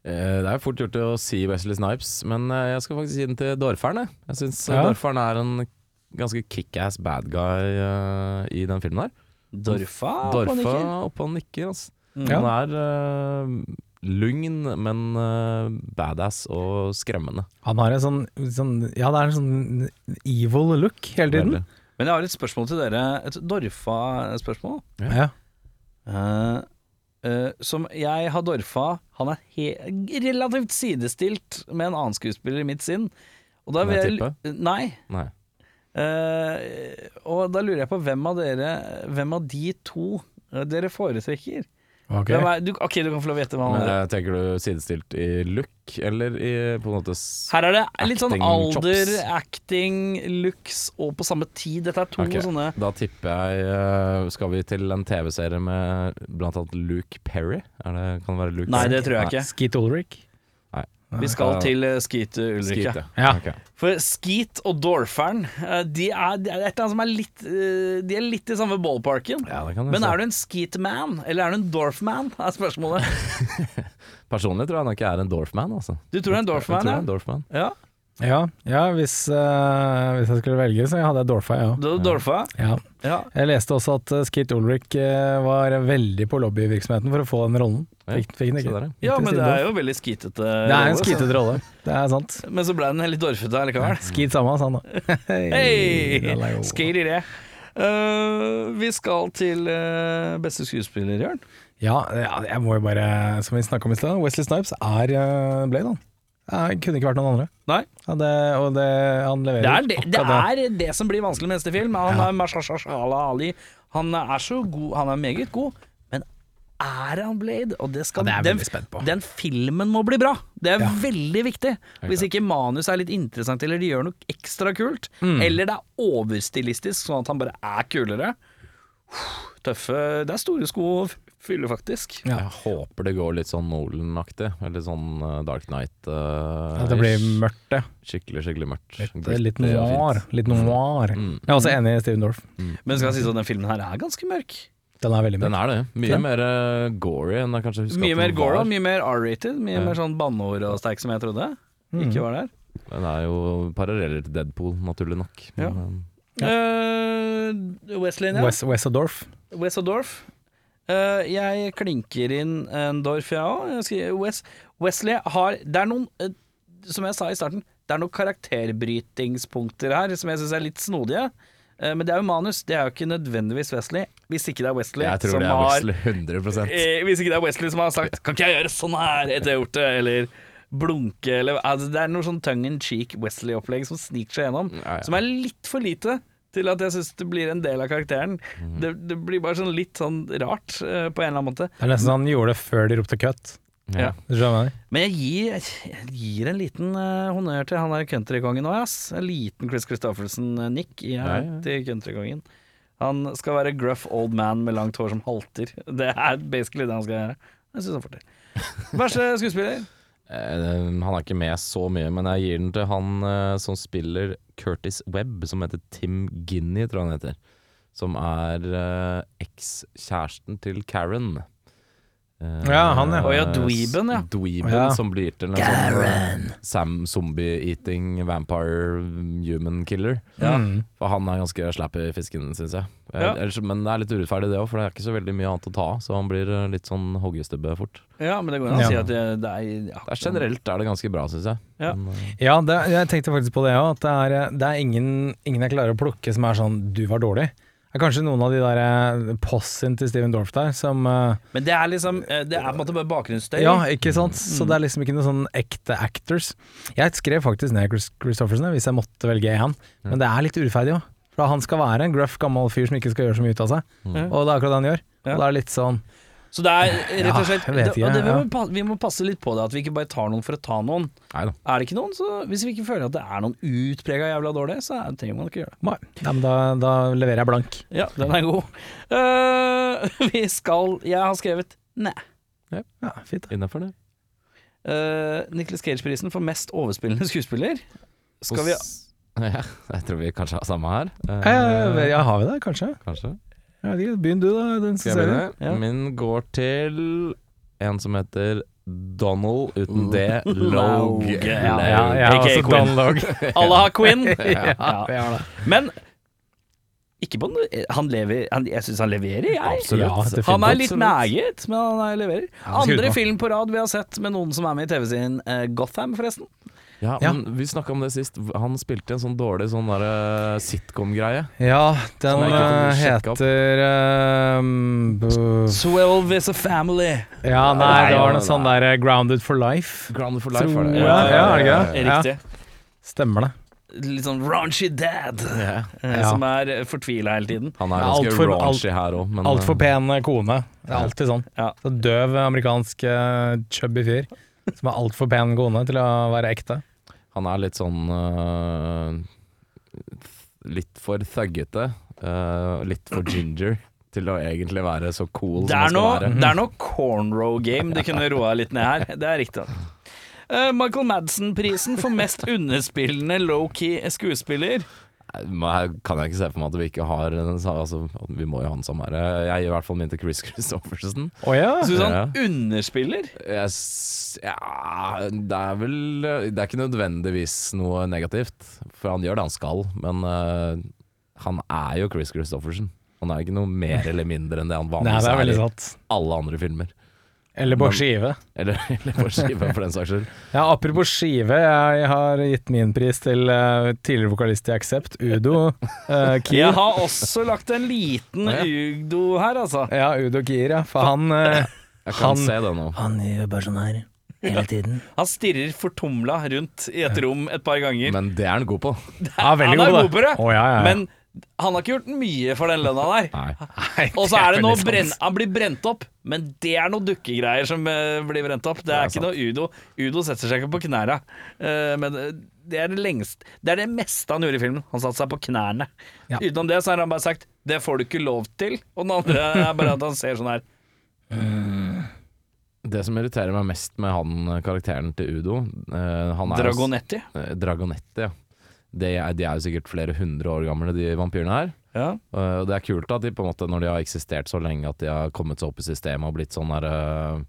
Eh, Det er fort gjort å si Wesley Snipes, men eh, jeg skal faktisk gi den til Dorferen. jeg. Jeg syns
Ja.
Dorferen er en ganske kickass bad guy eh, i den filmen her.
Dorfa? på
Dorfa
Nikker. Mm.
oppe og nikker. Altså.
Ja.
Han er eh, lugn, men eh, badass og skremmende.
Han har en sånn, sånn Ja, det er en sånn evil look hele tiden.
Veldig.
Men jeg har et spørsmål til dere. Et Dorfa-spørsmål.
Ja.
Eh, eh, som jeg har Dorfa Han er he relativt sidestilt med en annen skuespiller i mitt sinn. Og da
Kan
vil
jeg
jeg Nei.
Nei.
Eh, og da lurer jeg på hvem av dere Hvem av de to eh, dere foretrekker?
Ok.
Hvem er, du, ok, du kan få lov å gjette hva han
Men,
er.
eh, tenker du sidestilt i look, eller i på en måte s-
Her er det litt sånn
Acting
alder,
chops.
acting, looks og på samme tid. Dette er to
Ok,
sånne
Da tipper jeg eh, Skal vi til en TV-serie med blant annet Luke Perry? Er det, kan det være Luke
Nei,
Perry?
det tror jeg ikke.
Skeet Ulrik.
Vi skal til eh, Skeet eh, Ulrikke.
Skit,
Ja.
Ok.
For Skeet og Dorfern eh, de er, det er et eller annet som er litt eh, De er litt i samme ballparken.
Ja, det kan jeg
Men
se.
er du en Skeet-man, eller er du en Dorf-man, [laughs] er spørsmålet.
Personlig tror jeg nok jeg er en Dorfman. Altså.
Du tror du er en
Jeg tror jeg er en
Dorf-man,
Dorfman.
ja? ja?
Ja, ja hvis, eh, hvis jeg skulle velge, så hadde jeg Dorfa, jeg ja.
Du er Dorfa?
Ja.
Ja.
Jeg leste også at eh, Skeet Ulrik eh, var veldig på lobbyvirksomheten for å få den rollen.
Ja,
Fikk, fikk
se
den ikke.
der, ja.
ja, men det
Siden
er jo veldig skeetete.
Det er en
rolle, så-
skeetete rolle, det er sant.
Men så ble den litt dorfete allikevel.
Skeet samme, sa han da.
[laughs] Hei!
Det er like-
Skate i det. Eh, vi skal til eh, beste skuespiller, Jørn.
Ja, ja, jeg må jo bare, som vi snakka om i stad, Wesley Snipes er eh, Blade, han. Ja, det kunne ikke vært noen andre.
Nei.
Ja, det, og det, han leverer
Det er det, det,
akkurat
er det som blir vanskelig med neste film. Han er Mashashashala Ali. Han er så god, han er meget god, men er han Blade? Og det skal,
Ja, det er jeg
den,
veldig spent på.
den filmen må bli bra. Det er
Ja.
veldig viktig. Hvis ikke manus er litt interessant, eller de gjør noe ekstra kult,
Mm.
eller det er overstilistisk, sånn at han bare er kulere. Tøffe Det er store sko å f- fylle, faktisk.
Ja.
Jeg håper det går litt sånn Nolan-aktig. Eller sånn eh, Dark Knight. eh,
At det blir mørkt, det.
Skikkelig, skikkelig mørkt.
Det er litt
Gritty og fint.
noir. Litt noir.
Mm.
Jeg er også enig i Steven Dorff.
Men skal jeg si at den filmen her er ganske mørk.
Den er veldig
Den
mørk.
er det. Mye mer eh, gory enn jeg kanskje husker
Mye
at
mer
den
gore,
var.
mye mer R-rated, mye mer sånn banneord og sterk som jeg trodde.
Mm.
Ikke var der.
Den er jo paralleller til Deadpool, naturlig nok.
Ja.
Men,
Eh, Wesley, ja.
Wes, Wes og Dorff.
Wes og Dorf. Eh, jeg klinker inn en Dorf, jeg òg. Jeg skriver Wes, Wesley har Det er noen, eh, som jeg sa i starten, det er noen karakterbrytingspunkter her som jeg syns er litt snodige. Eh, men det er jo manus, det er jo ikke nødvendigvis Wesley. Hvis ikke det er Wesley
jeg tror
som
det er
har
Wesley 100
eh, Hvis ikke det er Wesley som har sagt 'Kan ikke jeg gjøre sånn her?' etter jeg har gjort det, eller blunke, eller altså, Det er noe sånn tongue in cheek Wesley-opplegg som sniker seg gjennom,
Ja, ja.
som er litt for lite til at jeg syns det blir en del av karakteren.
Mm.
Det, det blir bare sånn litt sånn rart, eh, på en eller annen måte.
Det er nesten sånn han gjorde det før de ropte cut.
Ja.
Du skjønner meg?
Men jeg gir, jeg gir en liten eh, honnør til han der countrykongen òg, ass. En liten Chris eh, Christoffersen-nikk
Ja, ja.
til countrykongen. Han skal være gruff old man med langt hår som halter. [laughs] Det er basically det han skal gjøre. Jeg syns han får til. Verste skuespiller?
Eh, Han er ikke med så mye, men jeg gir den til han eh, som spiller Curtis Webb, som heter Tim Guinea, tror jeg han heter. Som er eh, ekskjæresten til Karen. Eh,
Ja, han, ja.
Å ja,
eh,
dweeben, ja.
Dweeben
Ja.
som blir til en sånn eh, Sam zombie-eating vampire human killer.
Mm.
For han er ganske slapp i fisken, syns jeg. Eh,
Ja.
ellers, men det er litt urettferdig det òg, for det er ikke så veldig mye annet å ta av. Så han blir eh, litt sånn hoggestubbe fort.
Ja, men det går an å
Ja.
si at det, det er ja,
Det er generelt er det ganske bra, syns jeg.
Ja.
Men, eh,
ja det, jeg tenkte faktisk på det òg, at det er, eh, det er ingen, ingen jeg klarer å plukke som er sånn 'du var dårlig'. Det er kanskje noen av de der eh, possen til Steven Dorff der som eh,
Men det er liksom eh, Det er på en måte bare bakgrunnsstøy.
Ja, ikke sant? Så det er liksom ikke noen sånn ekte actors. Jeg skrev faktisk ned Chris Christoffersen hvis jeg måtte velge én, men det er litt urettferdig òg. For han skal være en gruff gammel fyr som ikke skal gjøre så mye ut av seg,
Mm.
og det er akkurat det han gjør.
Ja.
Og det er litt sånn
Så det er rett
Ja,
og slett
jeg vet
det, og det, vi,
ikke, ja.
må, pa- vi må passe litt på det, at vi ikke bare tar noen for å ta noen.
Nei da.
Er det ikke noen, så hvis vi ikke føler at det er noen utprega jævla dårlige, så er- trenger man ikke gjøre det.
Nei, ja, men da, da leverer jeg blank.
Ja, den er god. Eh, [laughs] vi skal Jeg har skrevet nei.
Ja, fint.
Innafor det.
Uh, Nicholas Cage-prisen for mest overspillende
[laughs]
skuespiller. Skal vi
Hos- ja, Jeg tror vi kanskje har samme her. Eh,
Eh, ja, har vi det, kanskje?
Kanskje.
Jeg vet ikke, Begynn du, da. Den som
Skal jeg
ser
begynne?
Ja.
Min går til en som heter Donald uten D. Logue.
Logue, ja.
Ja,
Logue.
altså jeg har
AKA
også
Quinn.
downlog.
Alle har Quinn!
ja,
[laughs] ja.
vi har det.
Men ikke på noe eh, Han lever han, Jeg syns han leverer, jeg.
Absolutt.
Ja, definitivt.
Han er litt
Absolutt.
meget, men han er leverer.
han skrur
Andre
på.
film på rad vi har sett med noen som er med i TV-serien eh, Gotham, forresten.
Ja,
Ja.
men Vi snakka om det sist. Han spilte en sånn dårlig sånn der, eh, sitcom-greie.
Ja, den
Som jeg ikke får
eh,
sjekka opp.
heter ehm, bu-
Twelve is a family.
Ja, nei,
Nei,
det var
nei,
noe sånn der eh, Grounded for life.
Grounded for life,
Tror-
var det.
Ja, ja, er det ikke det? Ja.
Eh, Riktig.
Stemmer det.
Litt sånn raunchy dad,
Ja.
eh,
Ja.
som er fortvila hele tiden.
Han er
Ja,
ganske
alt for-
raunchy her òg, men eh,
Altfor pen eh, kone. Det er alltid sånn.
Ja.
Så døv amerikansk eh, chubby fyr som er altfor pen kone til å være ekte.
eh, han er litt sånn eh, Litt for thuggete. eh, litt for ginger til å egentlig være så cool
Det
som
er,
han skal
noe,
være.
det er noe cornrow game de kunne roa litt ned her. Det er riktig. Eh, Michael Madsen-prisen for mest underspillende low-key skuespiller.
Nei, men Her kan jeg ikke se for meg at vi ikke har den sa- altså, Vi må jo ha den samme her. øh, Jeg gir i hvert fall min til Chris [laughs] Christoffersen.
Å ja!
Syns han
Ja.
underspiller?
Jeg, s- ja, det er vel øh, Det er ikke nødvendigvis noe negativt, for han gjør det han skal, men eh, han er jo Chris Christoffersen. Han er ikke noe mer eller mindre enn det han
Nei,
vanligvis
det er
er,
veldig
i
sant.
alle andre filmer.
Eller på skive.
Eller, [laughs] eller på skive, for den saks skyld.
Ja, apropos skive, jeg har gitt min pris til eh, tidligere vokalist i Accept, Udo eh, Kier.
Jeg har også lagt en liten
Ja.
ugdo her, altså.
[laughs] Ja, Udo Kier, ja. For han eh,
Jeg kan
Han-
se det nå.
Han gjør bare sånn her hele tiden.
Han stirrer fortumla rundt i et rom et par ganger.
Men det er han god på.
Ja, veldig
Han er god
da.
på det,
Å, ja, ja, ja.
men han har ikke gjort mye for den lønna der.
Nei.
Nei,
Og så er det noe
veldig sant.
brenn... Han blir brent opp, men det er noe dukkegreier som eh, blir brent opp. Det er, ikke
sant.
noe Udo. Udo setter seg ikke på knæra. Eh, men det er det lengst Det er det meste han gjorde i filmen. Han satte seg på knærne.
Ja.
Utenom det så har han bare sagt 'det får du ikke lov til', og den andre er bare at han ser sånn her.
Det som irriterer meg mest med han eh, karakteren til Udo eh, han er jo s-
Dragonetti.
Eh, Dragonetti, ja. De er, de er jo sikkert flere hundre år gamle, de vampyrene her.
Ja.
Eh, Og det er kult at de på en måte, når de har eksistert så lenge, at de har kommet seg opp i systemet og blitt sånn der eh,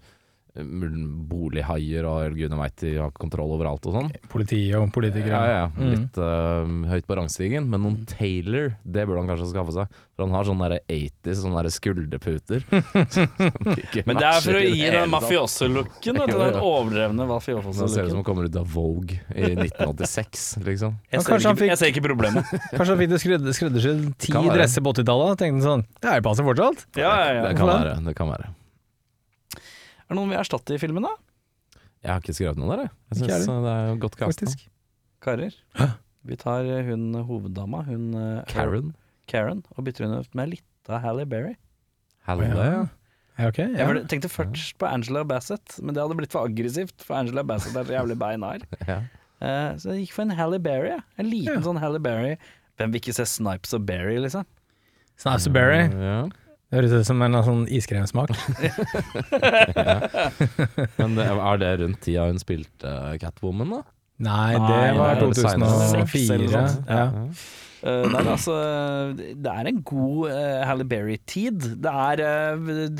mul- bolighaier og gudene veit de har kontroll over alt og sånn.
Politi og politikere.
Ja, ja, ja.
Mm.
Litt eh, høyt på rangstigen. Men noen Taylor, det burde han kanskje skaffe seg. For han har sånne der 80s, sånne der
[laughs]
skulderputer. som ikke
Men det er for å
matcher i det
gi den
hele tatt.
mafiosolooken, vet du. Den overdrevne
Han ser ut som
mafiosoloken.
han kommer ut av Vogue
[laughs]
i 1986, liksom.
Jeg,
Men
ser
kanskje han
ikke-
fikk-
jeg ser ikke problemet.
Kanskje han fikk det skredder- skreddersydd ti
Kan være.
dresser på 80-tallet. Tenkte han sånn Det er jo passet fortsatt.
Ja, ja, ja.
Det
Er
kan være. Det kan være.
det noen vi erstatter i filmen, da?
Jeg har ikke skrevet noe der, jeg. Jeg
Ikke jeg
synes eh, det er jo godt kasta.
Faktisk.
Karer? Vi tar eh, hun hoveddama, hun eh,
Karen.
Karen og bytter henne ut med litt av Halle Berry.
Halle.
Ja. Ja, ok.
Jeg
Ja.
ble- tenkte først på Angela Bassett, men det hadde blitt for aggressivt, for Angela Bassett er så jævlig
[laughs]
beinar.
Ja.
Eh, så jeg gikk for en Halle Berry. jeg. En liten
Ja.
sånn Halle Berry. Hvem vil ikke se Snipes og Berry, liksom?
Snipes and Berry.
Eh, Ja.
Det høres ut som en sånn [laughs] iskremsmak.
Men det, er det rundt tida hun spilte eh, Catwoman, da?
Nei, det
Nei,
var
det er det senere.
2004.
Seks eller
Ja.
Eh, nei, men altså, det er en god eh, Halle Berry-tid. Det er eh,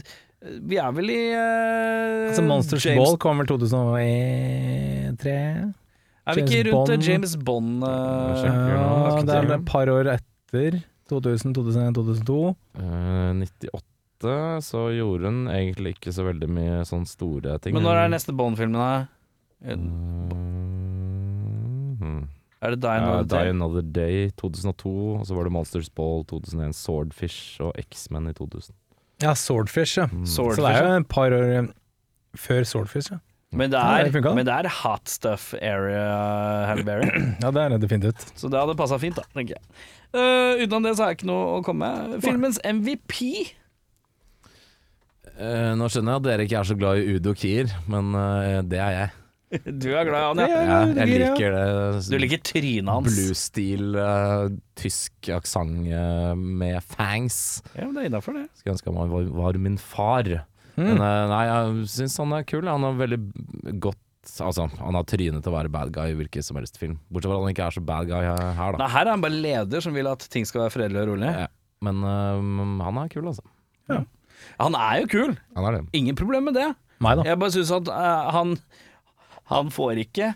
Vi er vel i eh,
Altså Monsters
James-
Ball kom vel 2003?
Er vi ikke
James
rundt eh,
Bond.
James Bond? eh,
Jeg sjekker nå,
Ja,
jeg skal
det er
se.
vel et par år etter. 2000, 2001, 2002.
Eh, 98 så gjorde hun egentlig ikke så veldig mye sånne store ting.
men når er neste Bond-filmen, da? Eh,
Mhm.
Er det Die
Ja,
Another
Die
Day?
Another Day 2002, og så var det Monsters Ball 2001, Swordfish og X-Men i 2000.
Ja, Mm. Swordfish, ja.
Swordfish,
Så det er jo et par år eh, før Swordfish, ja.
Men det
Ja,
er,
det funka.
men det er hot stuff area, Halle Berry.
Ja, det er det definitivt.
Så det hadde passa fint, da, tenker jeg. Eh, utenom det så er det ikke noe å komme med. Filmens MVP.
Eh, nå skjønner jeg at dere ikke er så glad i Udo Kier, men eh, det er jeg.
Du er glad i han, ja.
Ja,
Udo
jeg
Kier, ja.
liker
Du
det.
liker trynet hans.
Blues-stil, eh, tysk aksent eh, med fangs.
Ja, men det er innafor, det.
Skulle ønske han var, var min far. Men, eh, nei, jeg syns han er kul. Han har veldig godt Altså, han har trynet til å være bad guy i hvilken som helst film. Bortsett fra at han ikke er så bad guy her, her da.
Nei, her er han bare leder som vil at ting skal være fredelig og rolig.
[laughs] Ja. Men eh, han er kul, altså.
Han er jo kul,
Han er det.
ingen problem med det.
Meg, da.
Jeg bare syns at eh, han Han får ikke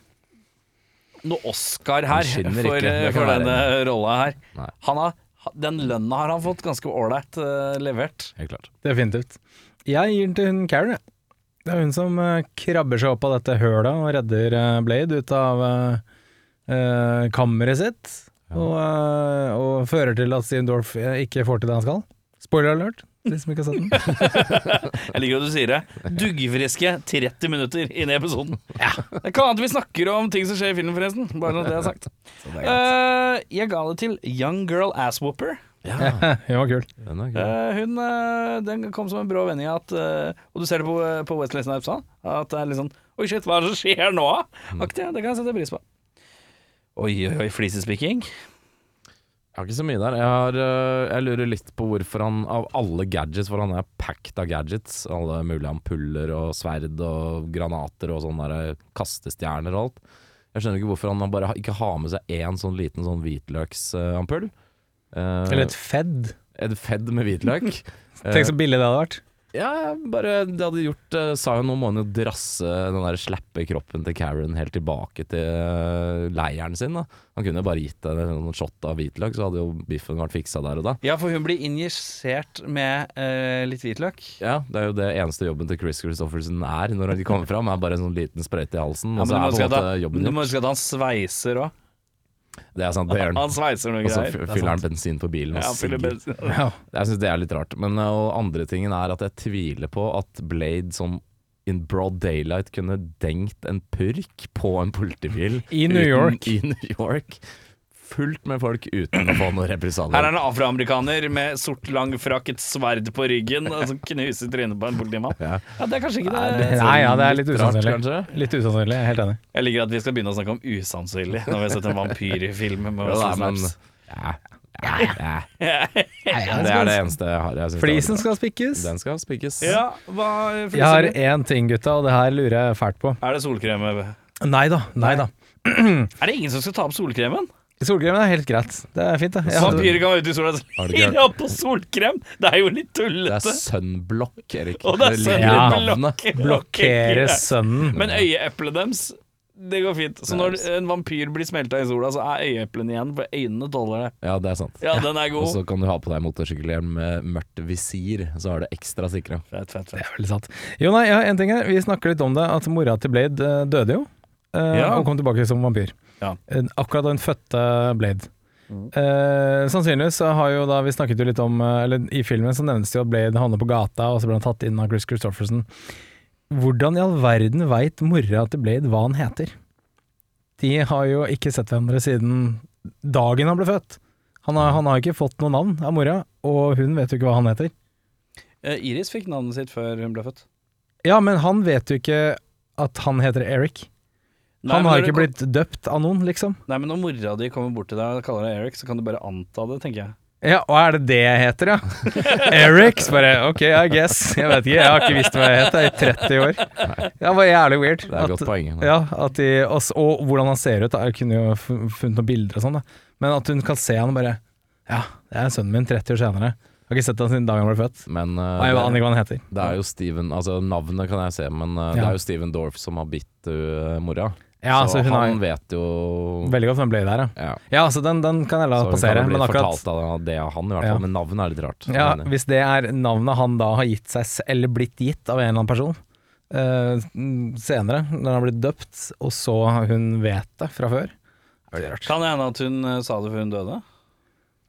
noe Oscar her for,
skinner ikke, det kan
for
være
denne rolla her.
Nei.
Han har, den lønna har han fått ganske ålreit eh, levert.
Helt klart.
Definitivt. Jeg gir den til hun Karen, jeg. Det er hun som eh, krabber seg opp av dette hølet og redder eh, Blade ut av eh, eh, kammeret sitt. Og, eh, og fører til at Steven Dorff eh, ikke får til det han skal. Spoiler alert, de som ikke har
[laughs]
sett den.
Jeg liker at du sier det. Duggfriske 30 minutter inn i episoden. Det er ikke annet vi snakker om ting som skjer i filmen, forresten. Bare når det
[laughs]
er sagt. Eh, jeg ga det til Young Girl Asswhopper.
Hun var kul.
Den er kul.
Eh, hun eh, den kom som en brå vending at eh, Og du ser det på, på Wesley Snipes òg. At det er litt sånn Oi, shit, hva er det som skjer nå?
Mm.
Aktig. Det kan jeg sette pris på. Oi, oi, oi, flisespikking.
Jeg har ikke så mye der. Jeg, har, øh, jeg lurer litt på hvorfor han av alle gadgets For han er packed av gadgets. Alle mulige ampuller og sverd og granater og sånne der kastestjerner og alt. Jeg skjønner ikke hvorfor han bare ha- ikke har med seg én sånn liten sånn hvitløksampull. Eh,
Eller et fedd.
et fedd med [laughs] hvitløk.
Tenk så billig det hadde vært.
Ja, jeg bare det hadde gjort eh, Sa jo nå må han jo drasse den der slappe kroppen til Karen helt tilbake til eh, leiren sin, da. Han kunne jo bare gitt henne en sånn shot av hvitløk, så hadde jo biffen vært fiksa der og da.
Ja, for hun blir injisert med eh, litt hvitløk.
Ja, det er jo det eneste jobben til Chris Christoffersen er når han kommer fram, er bare en sånn liten sprøyte i halsen,
Ja,
og
men
så
du må
er på
huske
en
at
måte
han-
jobben
du må
gjort.
huske at han sveiser òg.
Det er sant, det gjør han. Altså,
Han sveiser noen
Og så
greier.
fy- fyller han bensin på bilen og
Ja, fyller
sigger.
bensin.
Jeg syns det er litt rart. Men uh, og andre tingen er at jeg tviler på at Blade som in broad daylight kunne dengt en purk på en politibil
[laughs] I New
uten-
York.
I New York. Fullt med folk uten å få noen
Her er
represalier.
en afroamerikaner med sort, lang frakk, et sverd på ryggen og som knuser trynet på en politimann.
Ja.
Ja, det er kanskje ikke
Er
det
det-
Nei, ja, det er litt
Rart,
usannsynlig.
kanskje?
Litt usannsynlig, jeg er helt enig.
Jeg liker at vi skal begynne å snakke om usannsynlig når vi har sett en vampyr i film. Med
Jo,
Wesley
da, men
Snipes.
ja, ja, ja. Det er det eneste jeg har. Jeg synes det er
Flisen
bra.
skal spikkes.
Den skal spikkes.
Ja, hva
Jeg har én ting, gutta, og det her lurer jeg fælt på.
Er det solkrem? Ebbe?
Nei da, nei da.
Er det ingen som skal ta opp solkremen?
Solkremen er helt greit. Det er fint, det. Jeg hadde-
Vampyrer kan være ute i sola
Har
og
du ikke
gir opp på solkrem! Det er jo litt
Det er
tullete.
Sunblock, Erik.
Og det er
ligger i
Sunblock.
navnet.
sønnblokke.
blokkere sønnen.
Men øyeeplet deres, det går fint. Så når en vampyr blir smelta i sola, så er øyeeplene igjen, for øynene tåler det.
Ja, det er sant.
Ja, den er
Og
god.
så kan du ha på deg motorsykkelhjelm med mørkt visir, så er det ekstra sikra.
Fett, fett,
Det
fett.
er veldig sant. Jo, nei, jeg har en ting her. Vi snakker litt om det, at mora til Blade eh, døde jo, eh,
Ja.
og kom tilbake som vampyr.
Ja.
Eh, Akkurat da hun fødte Blade. Eh, sannsynligvis så har jo da vi snakket jo litt om eh, Eller i filmen så nevnes det jo at Blade havner på gata, og så ble han tatt inn av Chris Christofferson. Hvordan i all verden veit mora til Blade hva han heter? De har jo ikke sett hverandre siden dagen han ble født. Han har, han har ikke fått noe navn av mora, og hun vet jo ikke hva han heter.
Eh, Iris fikk navnet sitt før hun ble født.
Ja, men han vet jo ikke at han heter Eric.
Nei,
han
men
har
når
ikke
det-
blitt døpt av noen, liksom.
Nei, men når mora di kommer bort til deg og kaller deg Eric, så kan du bare anta det, tenker jeg.
Ja, og er det det jeg [laughs] heter, ja? Eric? Så bare ok, I guess. Jeg vet ikke, jeg har ikke visst hva jeg het jeg, i 30 år. Det var jævlig weird.
Det er et godt poeng.
ja, at de, og, s- og hvordan han ser ut, da. jeg kunne jo fu- funnet noen bilder og sånn, da. Men at hun kan se han og bare Ja, det er sønnen min 30 år senere. Jeg har ikke sett han siden dagen han ble født.
Men eh,
Og jeg aner
det,
ikke hva han heter.
det er jo Steven Altså, navnet kan jeg se, men eh, det
Ja.
er jo Steven Dorff som har bitt eh, mora.
Ja, så, hun
han
har
vet jo
veldig godt hvem Blade er, ja.
ja.
Ja, så den, den kan jeg la
Så hun
passere,
kan jo
men
bli
akkurat
fortalt av det av han, i hvert fall.
Ja.
Men navnet er litt rart.
Ja,
Men, eh,
hvis det er navnet han da har gitt seg, s- eller blitt gitt av en eller annen person eh, mm, senere, når han har blitt døpt, og så hun vet det fra før.
Kan det hende at hun eh, sa det før hun døde?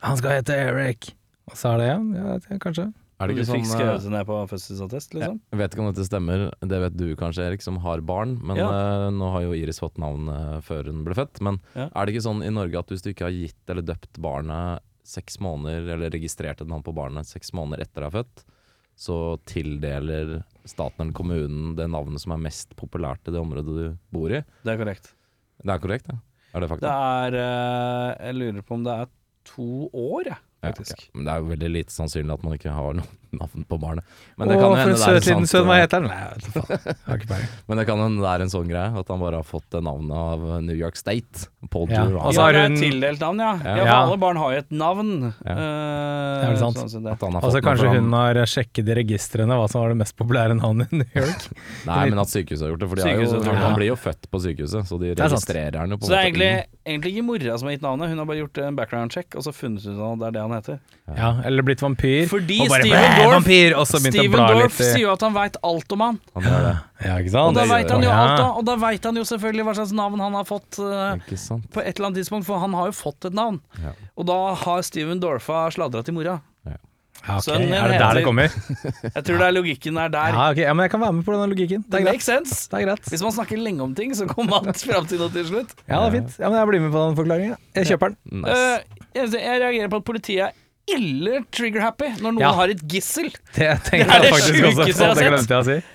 Han skal hete Eric! Og så er det igjen, ja, det, kanskje.
er det
du
ikke
fikk
sånn eh,
skrevet det ned på fødselsattest,
Sånn.
liksom?
Jeg vet ikke om dette stemmer, det vet du kanskje Erik som har barn, men eh, nå har jo Iris fått navn eh, før hun ble født. Men
Ja.
er det ikke sånn i Norge at hvis du ikke har gitt eller døpt barnet seks måneder, eller registrert et navn på barnet seks måneder etter det er født, så tildeler staten eller kommunen det navnet som er mest populært i det området du bor i.
Det er korrekt.
Det er korrekt, det? Er det
Det
fakta?
er eh, Jeg lurer på om det er to år, jeg,
Ja,
faktisk.
ok. Men det er jo veldig lite sannsynlig at man ikke har noe navn på barnet. Men
Å,
det kan jo
for en
hende det er
søt liten
en
sønn, hva
sånn-
heter han? Nei, jeg vet ikke faen. Jeg har ikke peiling.
Men det kan hende det er en sånn greie, at han bare har fått det navnet av New York State. Paul
Ja, Altså-
Durant.
Og så
ja,
har
det er
hun-
et tildelt navn, Altså, ja. ja.
Ja.
for
Ja.
alle barn har jo et navn.
Ja.
Eh,
Det er vel sant.
sånn som det.
At han har
Altså
fått noe
Kanskje
for
hun
han-
har sjekket i registrene hva som var det mest populære navnet i New York.
Nei, men at sykehuset har gjort det. For de er
Sykehuset
jo,
har gjort det.
han blir jo født på sykehuset, så de
er sant.
registrerer han jo på
Så
en
det er
måte
egentlig,
inn.
egentlig ikke mora som har gitt navnet, hun har bare gjort en background check og så funnet ut at det er det han heter.
Ja, Eller blitt vampyr.
Fordi
og bare,
Steven
"Bæ,
Dorff-
vampyr, og så begynte han å
Steven
bla
Dorff
litt i
sier jo at han veit alt om han,
Han gjør
[laughs]
det.
Ja, ikke
og
sant?
da
det
veit
gjør
han jo
han.
alt, da.
Ja. Mm.
Og da veit han jo selvfølgelig hva slags navn han har fått eh,
Ikke sant.
på et eller annet tidspunkt, for han har jo fått et navn.
Ja.
Og da har Steven Dorfa sladra til mora.
Ja, ok.
Sønnen
Er det der det
heter-
kommer?
Jeg tror det er logikken er der.
Ja, ok, ja, men jeg kan være med på denne logikken. Det
Det
er greit.
makes sense.
Det er greit.
Hvis man snakker lenge om ting, så kommer
[laughs]
man fram til noe til slutt.
Ja, det er fint. Ja, men jeg blir med på den forklaringen. Jeg kjøper den.
Nice.
Øh.
Eh, jeg, jeg reagerer på at politiet er ille trigger-happy når noen
Ja.
har et gissel.
Det
Det
tenkte
er det
jeg faktisk også.
sjukeste jeg har
Det
sett.
glemte jeg å si.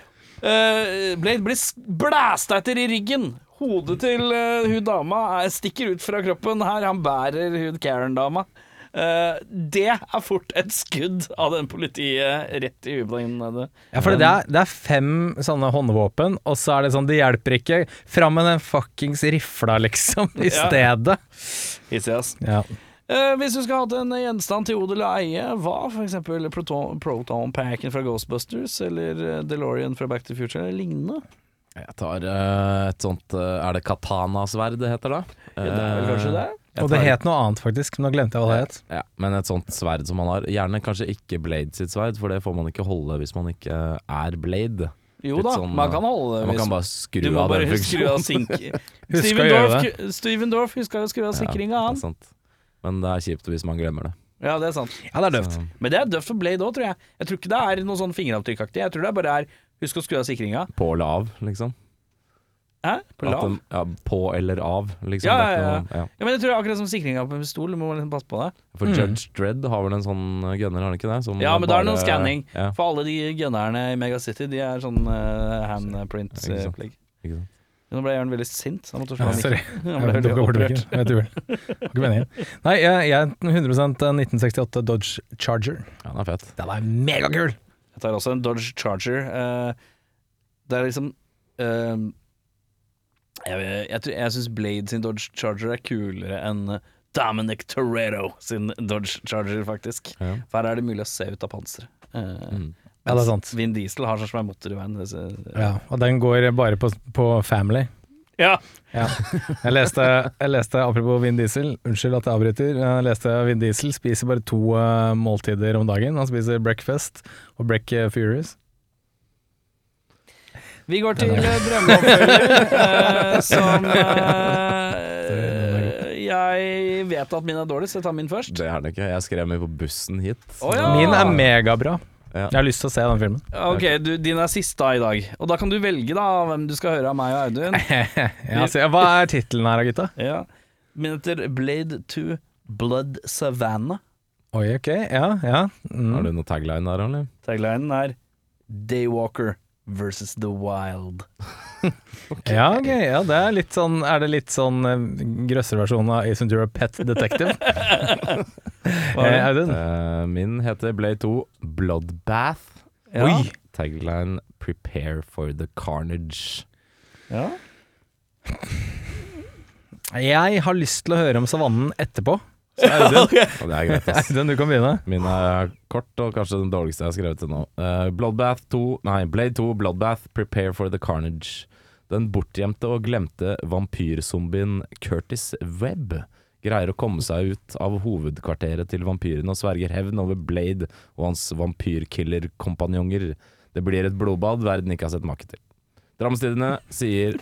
Eh, Blade blir s- blæsta etter i ryggen. Hodet til eh, hun dama er, stikker ut fra kroppen her. Han bærer hun Karen-dama. Eh, det er fort et skudd av den politiet rett i hubelen.
Ja, for det er, det er fem sånne håndvåpen, og så er det sånn, det hjelper ikke. Fram med den fuckings rifla, liksom, i
Ja.
stedet.
Hissig, ass.
Ja.
Eh, hvis du skulle hatt en gjenstand til odel og eie, hva f.eks. Proton, Proton Packen fra Ghostbusters eller eh, DeLorean fra Back to the Future eller lignende?
Jeg tar eh, et sånt eh, Er det katanasverd det heter da? Øh,
Ja, det er vel kanskje det?
Jeg
Og det
tar-
het noe annet, faktisk, men nå glemte jeg hva det het.
Ja, men et sånt sverd som han har. Gjerne kanskje ikke Blade sitt sverd, for det får man ikke holde hvis man ikke er Blade.
Jo
Litt
da,
sånn,
man kan holde det.
Man
hvis-
kan bare
du
skru
må
av
bare
den
huske skru av
funksjonen.
sink...
[laughs]
å
Steven
gjøre
Dorff, Steven Dorff huska jo å skru av sikringa,
Ja, det
han.
er sant. Men det er kjipt hvis man glemmer det.
Ja, det er sant.
Ja, det er døvt.
Men det er døvt for Blade òg, tror jeg. Jeg tror ikke det er noe sånn fingeravtrykkaktig. Jeg tror det er bare er husk å skru av sikringa.
På eller av, liksom.
Hæ? På
At
lav?
den- ja, på eller av, liksom.
Ja,
Det
ja,
er
ja.
ikke noe- ja.
Ja, men jeg tror det er akkurat som sikringa på en pistol, du må liksom passe på det.
For Judge Dredd har vel en sånn gunner, har han ikke det? Som
Ja, men da er det
bare-
noe scanning.
Ja,
For alle de gunnerne i Megacity, de er sånn uh, handprint-opplegg.
ikke sant.
Nå ble Jørn veldig sint. Han måtte slå
Ja,
han
[laughs] sorry.
[laughs]
Han
Jeg
ble
tok
veldig opprørt.
overtrykket. Vet du vel. Var ikke meningen. Nei, jeg, jeg er 100 1968 Dodge Charger.
ja, den er fet.
Den er megakul!
Jeg tar også en Dodge Charger. eh, det er liksom eh, Jeg, jeg, tror- jeg syns Blade sin Dodge Charger er kulere enn eh, Dominic Toretto sin Dodge Charger, faktisk.
Ja.
For her er det mulig å se ut av panseret. Eh,
Mm.
Ja, det er sant.
Vin Diesel har sånn svær motor i veien. det ser-
Ja, og den går bare på, på Family.
Ja.
Ja. Jeg leste, jeg leste, apropos Vin Diesel, unnskyld at jeg avbryter, jeg leste Vin Diesel spiser bare to eh, måltider om dagen. Han spiser breakfast og break eh, furious.
Vi går til eh, drømmeoppfølger,
[laughs]
eh, som eh, Jeg vet at min er dårligst, jeg tar min først.
Det er den ikke. Jeg skrev meg på bussen hit.
Å, ja.
Min er megabra.
Ja.
Jeg har lyst til å se den filmen. [laughs]
Ok, du, din er siste da i dag. Og da kan du velge da hvem du skal høre av meg og Audun.
Ja, så, hva er tittelen her, gutta?
Ja. Min heter Blade 2 Blood Savannah.
Oi, ok. Ja, ja.
Har
Mm.
du noe tagline der, eller?
Taglinen er Daywalker versus The Wild.
ja, ok. Ja, det er litt sånn Er det litt sånn eh, grøsserversjonen av Ace Ventura Pet Detective? Eh,
Mm.
Audun?
Eh, min heter Blade 2 Bloodbath.
Ja.
Oi!
Tagline Prepare for the carnage.
Ja.
Jeg har lyst til å høre om savannen etterpå. Så
[laughs]
Audun,
Og det er greit, ass.
Audun, du kan begynne.
Min er kort, og kanskje den dårligste jeg har skrevet til nå. Eh, Bloodbath 2, nei, Blade 2, Bloodbath, Prepare for the Carnage. Den bortgjemte og glemte vampyrzombien Curtis Webb greier å komme seg ut av hovedkvarteret til vampyrene og sverger hevn over Blade og hans vampyrkillerkompanjonger. Det blir et blodbad verden ikke har sett make til. Drammestidene sier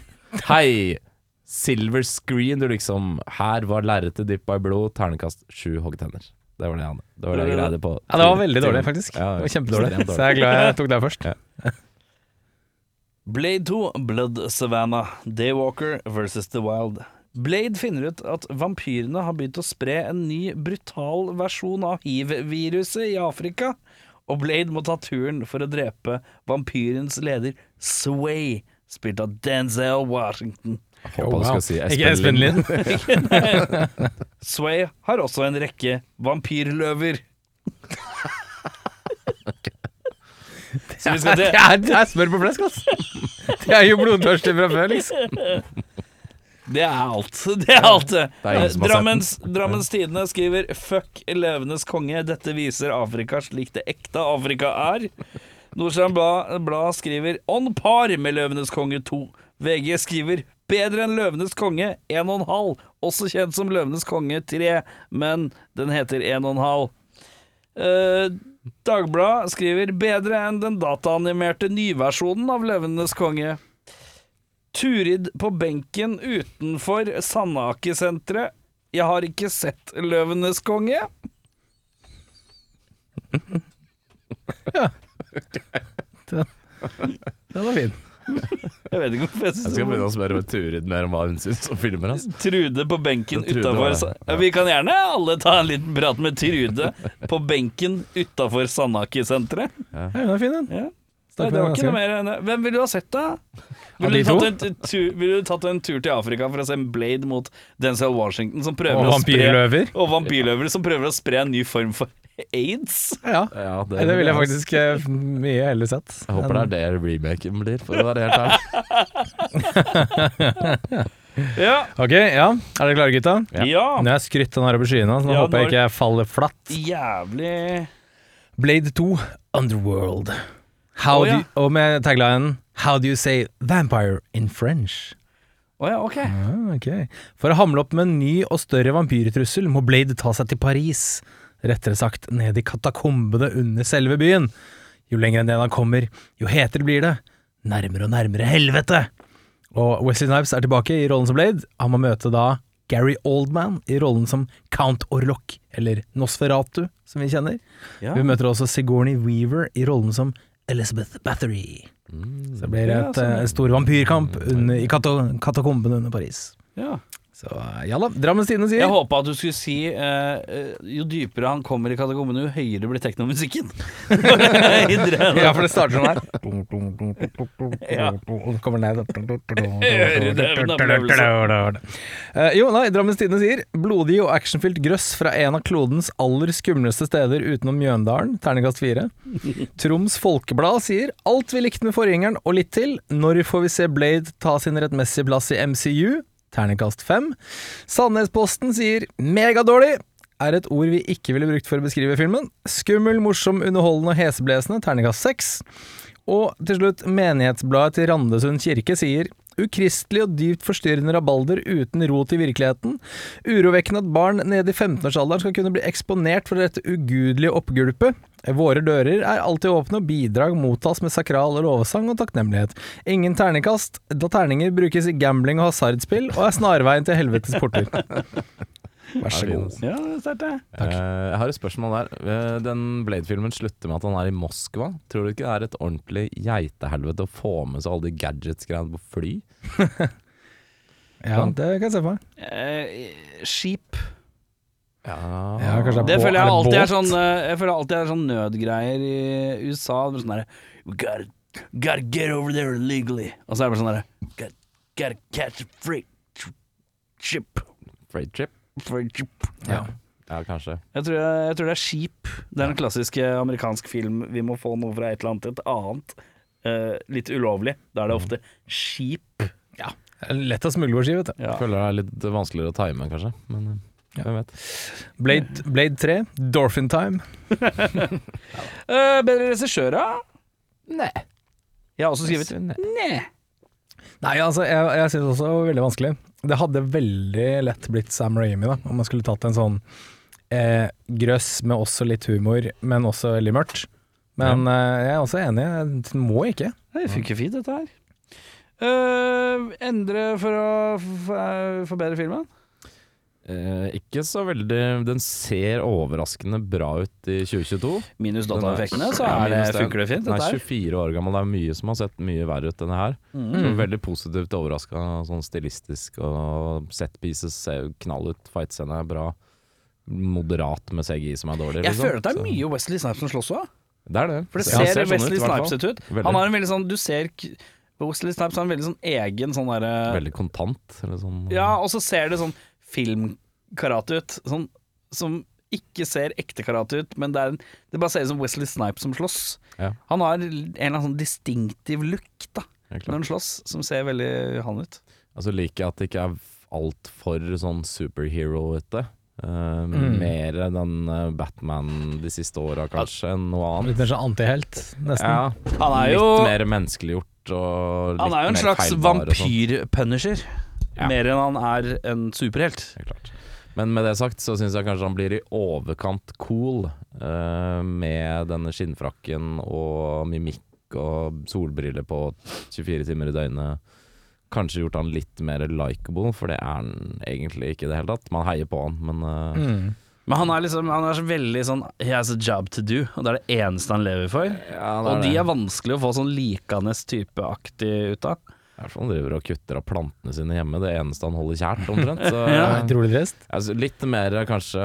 hei, silver screen, du liksom. Her var lerretet dyppa i blod, ternekast sju hoggtenner. Det var det han Det var det jeg greide på.
Ja, det var veldig dårlig, faktisk.
Ja,
det var Kjempedårlig.
ekstremt
Så jeg er glad jeg tok deg først.
Blade 2, Blood Savannah, Daywalker versus The Wild. Blade finner ut at vampyrene har begynt å spre en ny brutal versjon av hiv-viruset i Afrika, og Blade må ta turen for å drepe vampyrens leder Sway, spilt av Denzel Washington.
Håper
Oh,
du skal si
Ikke Espen Lind.
Sway har også en rekke
[laughs]
vampyrløver. Så vi skal
Det
til
er, det er smør på flesk, ass. Det er jo blodtørstig fra før, liksom.
Det er alt. [laughs] Det er alt. det.
Det er ingen som har
Drammens, Drammens Tidende skriver 'Fuck levendes konge'. Dette viser Afrika slik det ekte Afrika er. Nordstrand Blad, Blad skriver 'On par med Løvenes konge 2'. VG skriver 'Bedre enn Løvenes konge 1,5'. Også kjent som Løvenes konge 3, men den heter 1,5. Eh, Dagbladet skriver 'Bedre enn den dataanimerte nyversjonen av Løvenes konge'. Turid på benken utenfor Sandake-senteret. Jeg har ikke sett Løvenes konge.
Den var fin.
Jeg vet ikke hvorfor jeg
Jeg
synes
skal
det
begynne å spørre med Turid mer om hva hun syns om filmer. ass.
var- Trude på benken
Trude var
utafor
det,
Sa- Vi kan gjerne alle ta en liten prat med Trude på benken utafor Sandake-senteret.
Ja, den var fin, den.
Ja. Nei,
Stakk
det var
meg
ikke noe
ganske.
mer enn det. Hvem ville du ha sett, da?
Av
Ville du,
de to?
tatt en, t- tur, ville du tatt en tur til Afrika for å se Blade mot Denzel Washington, som prøver
Og
å spre
vampyrløver.
Og vampyrløver som prøver å spre en ny form for aids?
Ja,
Ja,
det ville jeg faktisk eh, mye heller sett.
Jeg håper det er det remaken blir, for å være helt ærlig.
Ja.
Ok, ja. Er dere klare, gutta?
ja.
Nå har jeg skrytt den her over skyene, så nå
Ja,
håper jeg
når-
ikke jeg faller flatt.
Jævlig
Blade 2, Underworld. How
Å, ja.
do, og med taglinen How do you say vampire in French?
Å ja, ok.
Ah, ok. For å hamle opp med en ny og større vampyrtrussel må Blade ta seg til Paris, rettere sagt ned i katakombene under selve byen. Jo lenger ned han kommer, jo hetere blir det, nærmere og nærmere helvete. Og Wesley Snipes er tilbake i rollen som Blade. Han må møte da Gary Oldman i rollen som Count Orlok, eller Nosferatu, som vi kjenner.
Ja.
Vi møter også Sigourney Weaver i rollen som Elizabeth Bathory. Så det blir
Mm. Ja,
et,
sånn, ja.
eh, stor vampyrkamp under, i kato- katakombene under Paris.
Ja.
Så eh, ja da, Drammens Tidende sier
Jeg håpa at du skulle si eh, eh, jo dypere han kommer i katakombene, jo høyere blir teknomusikken. [laughs]
Ja, [laughs]
Hører
for det starter sånn her.
Ja.
Og så kommer den
det er en opplevelse.
her. Eh, Jo, nei, Drammens Tidende sier blodig og actionfylt grøss fra en av klodens aller skumleste steder utenom Mjøndalen, terningkast [laughs] fire. Troms Folkeblad sier alt vi likte med forgjengeren og litt til. Når får vi se Blade ta sin rettmessige plass i MCU? Terningkast fem. Sandnesposten sier megadårlig. Er et ord vi ikke ville brukt for å beskrive filmen. Skummel, morsom, underholdende og heseblesende. Terningkast seks. Og til slutt, menighetsbladet til Randesund kirke sier Ukristelig og dypt forstyrrende rabalder uten rot i virkeligheten. Urovekkende at barn nede i 15-årsalderen skal kunne bli eksponert for dette ugudelige oppgulpet. Våre dører er alltid åpne, og bidrag mottas med sakral lovsang og takknemlighet. Ingen ternekast, da terninger brukes i gambling og hasardspill, og er snarveien til helvetes
[laughs]
porter. Vær så god.
Ja, det er sterkt, det.
Takk.
Eh, jeg har et spørsmål der. Eh, Den Blade-filmen slutter med at han er i Moskva. Tror du ikke det er et ordentlig geitehelvete å få med seg alle de gadgets-greiene på fly?
Ja, det kan jeg se for meg.
Eh, skip.
Ja,
Ja, kanskje
Det
Bå-
føler
er
jeg
det
alltid er
båt?
sånn eh, Jeg føler alltid er sånn nødgreier i USA. Det blir sånn derre We gotta, gotta get over there legally. Og så er det bare sånn derre gotta, gotta catch a freight ship.
Freight trip?
Freight ship.
Ja, kanskje.
Jeg tror, jeg tror det er skip. Det er den klassiske amerikanske film Vi må få noe fra et eller annet til et annet. eh, litt ulovlig. Da er det ofte skip.
Lett å smugle på ski, vet du.
Ja.
Føler det er litt vanskeligere å time, kanskje. Men eh, hvem vet.
Blade, Blade 3, Dorphin Time.
Eh, bedre regissør, da?
Nei.
Jeg har også skrevet Nei.
Nei, altså, jeg, jeg synes også det var veldig vanskelig. Det hadde veldig lett blitt Sam Raimi, da, om man skulle tatt en sånn eh, grøss med også litt humor, men også veldig mørkt. Men eh, jeg er også enig, jeg må ikke.
Nei, Det funker fint, dette her. Mm. Eh, endre for å f- eh, forbedre filmen?
Eh, ikke så veldig Den ser overraskende bra ut i 2022.
Minus
Den er-
dataeffektene, så
Ja,
er
minus
det, funker det fint.
Den
Dette
er
her. Mm.
24 år gammel, det er mye som har sett mye verre ut denne her. Så veldig positivt overraska, sånn stilistisk og set pieces ser jo knall ut, fightscene er bra. Moderat med CGI som er dårlig.
Jeg
liksom.
føler at det er
Så-
mye Wesley Snipes som slåss òg.
Det er det.
For det
Ja,
ser,
sånn
Wesley
ut, i hvert fall.
Snipes ut.
Veldig.
Han har en veldig sånn Du ser k- Wesley Snipes har en veldig sånn egen sånn derre
Veldig kontant. Eller sånn.
Ja, og så ser det sånn filmkarate ut. Sånn som ikke ser ekte karate ut, men det, er en, det bare ser ut som Wesley Snipes som slåss.
Ja.
Han har en eller annen sånn distinktiv lukt da
helt klart.
når han slåss, som ser veldig han ut.
Altså liker jeg at det ikke er altfor sånn superhero-ete. Uh,
Mm.
Mer den eh, Batman de siste åra, kanskje, enn noe annet.
Litt mer sånn antihelt, nesten.
Ja,
Han er
litt
jo,
mer menneskeliggjort og litt
han er jo en
mer
slags
feilbar og sånn. sånt.
vampyrpunisher.
Ja.
Mer enn han er en superhelt.
Helt klart. Men med det sagt så syns jeg kanskje han blir i overkant cool eh, med denne skinnfrakken og mimikk og solbriller på 24 timer i døgnet. Kanskje gjort han litt mer likeable, for det er han egentlig ikke i det hele tatt. Man heier på han, men eh,
Mm.
Men han er liksom Han er så veldig sånn He has a job to do, og det er det eneste han lever for.
ja, det
Og de
det.
er vanskelig å få sånn likende typeaktig ut av.
I hvert fall han driver og kutter av plantene sine hjemme, det eneste han holder kjært, omtrent.
[laughs]
Så,
Ja.
Utrolig trist.
altså, litt mer kanskje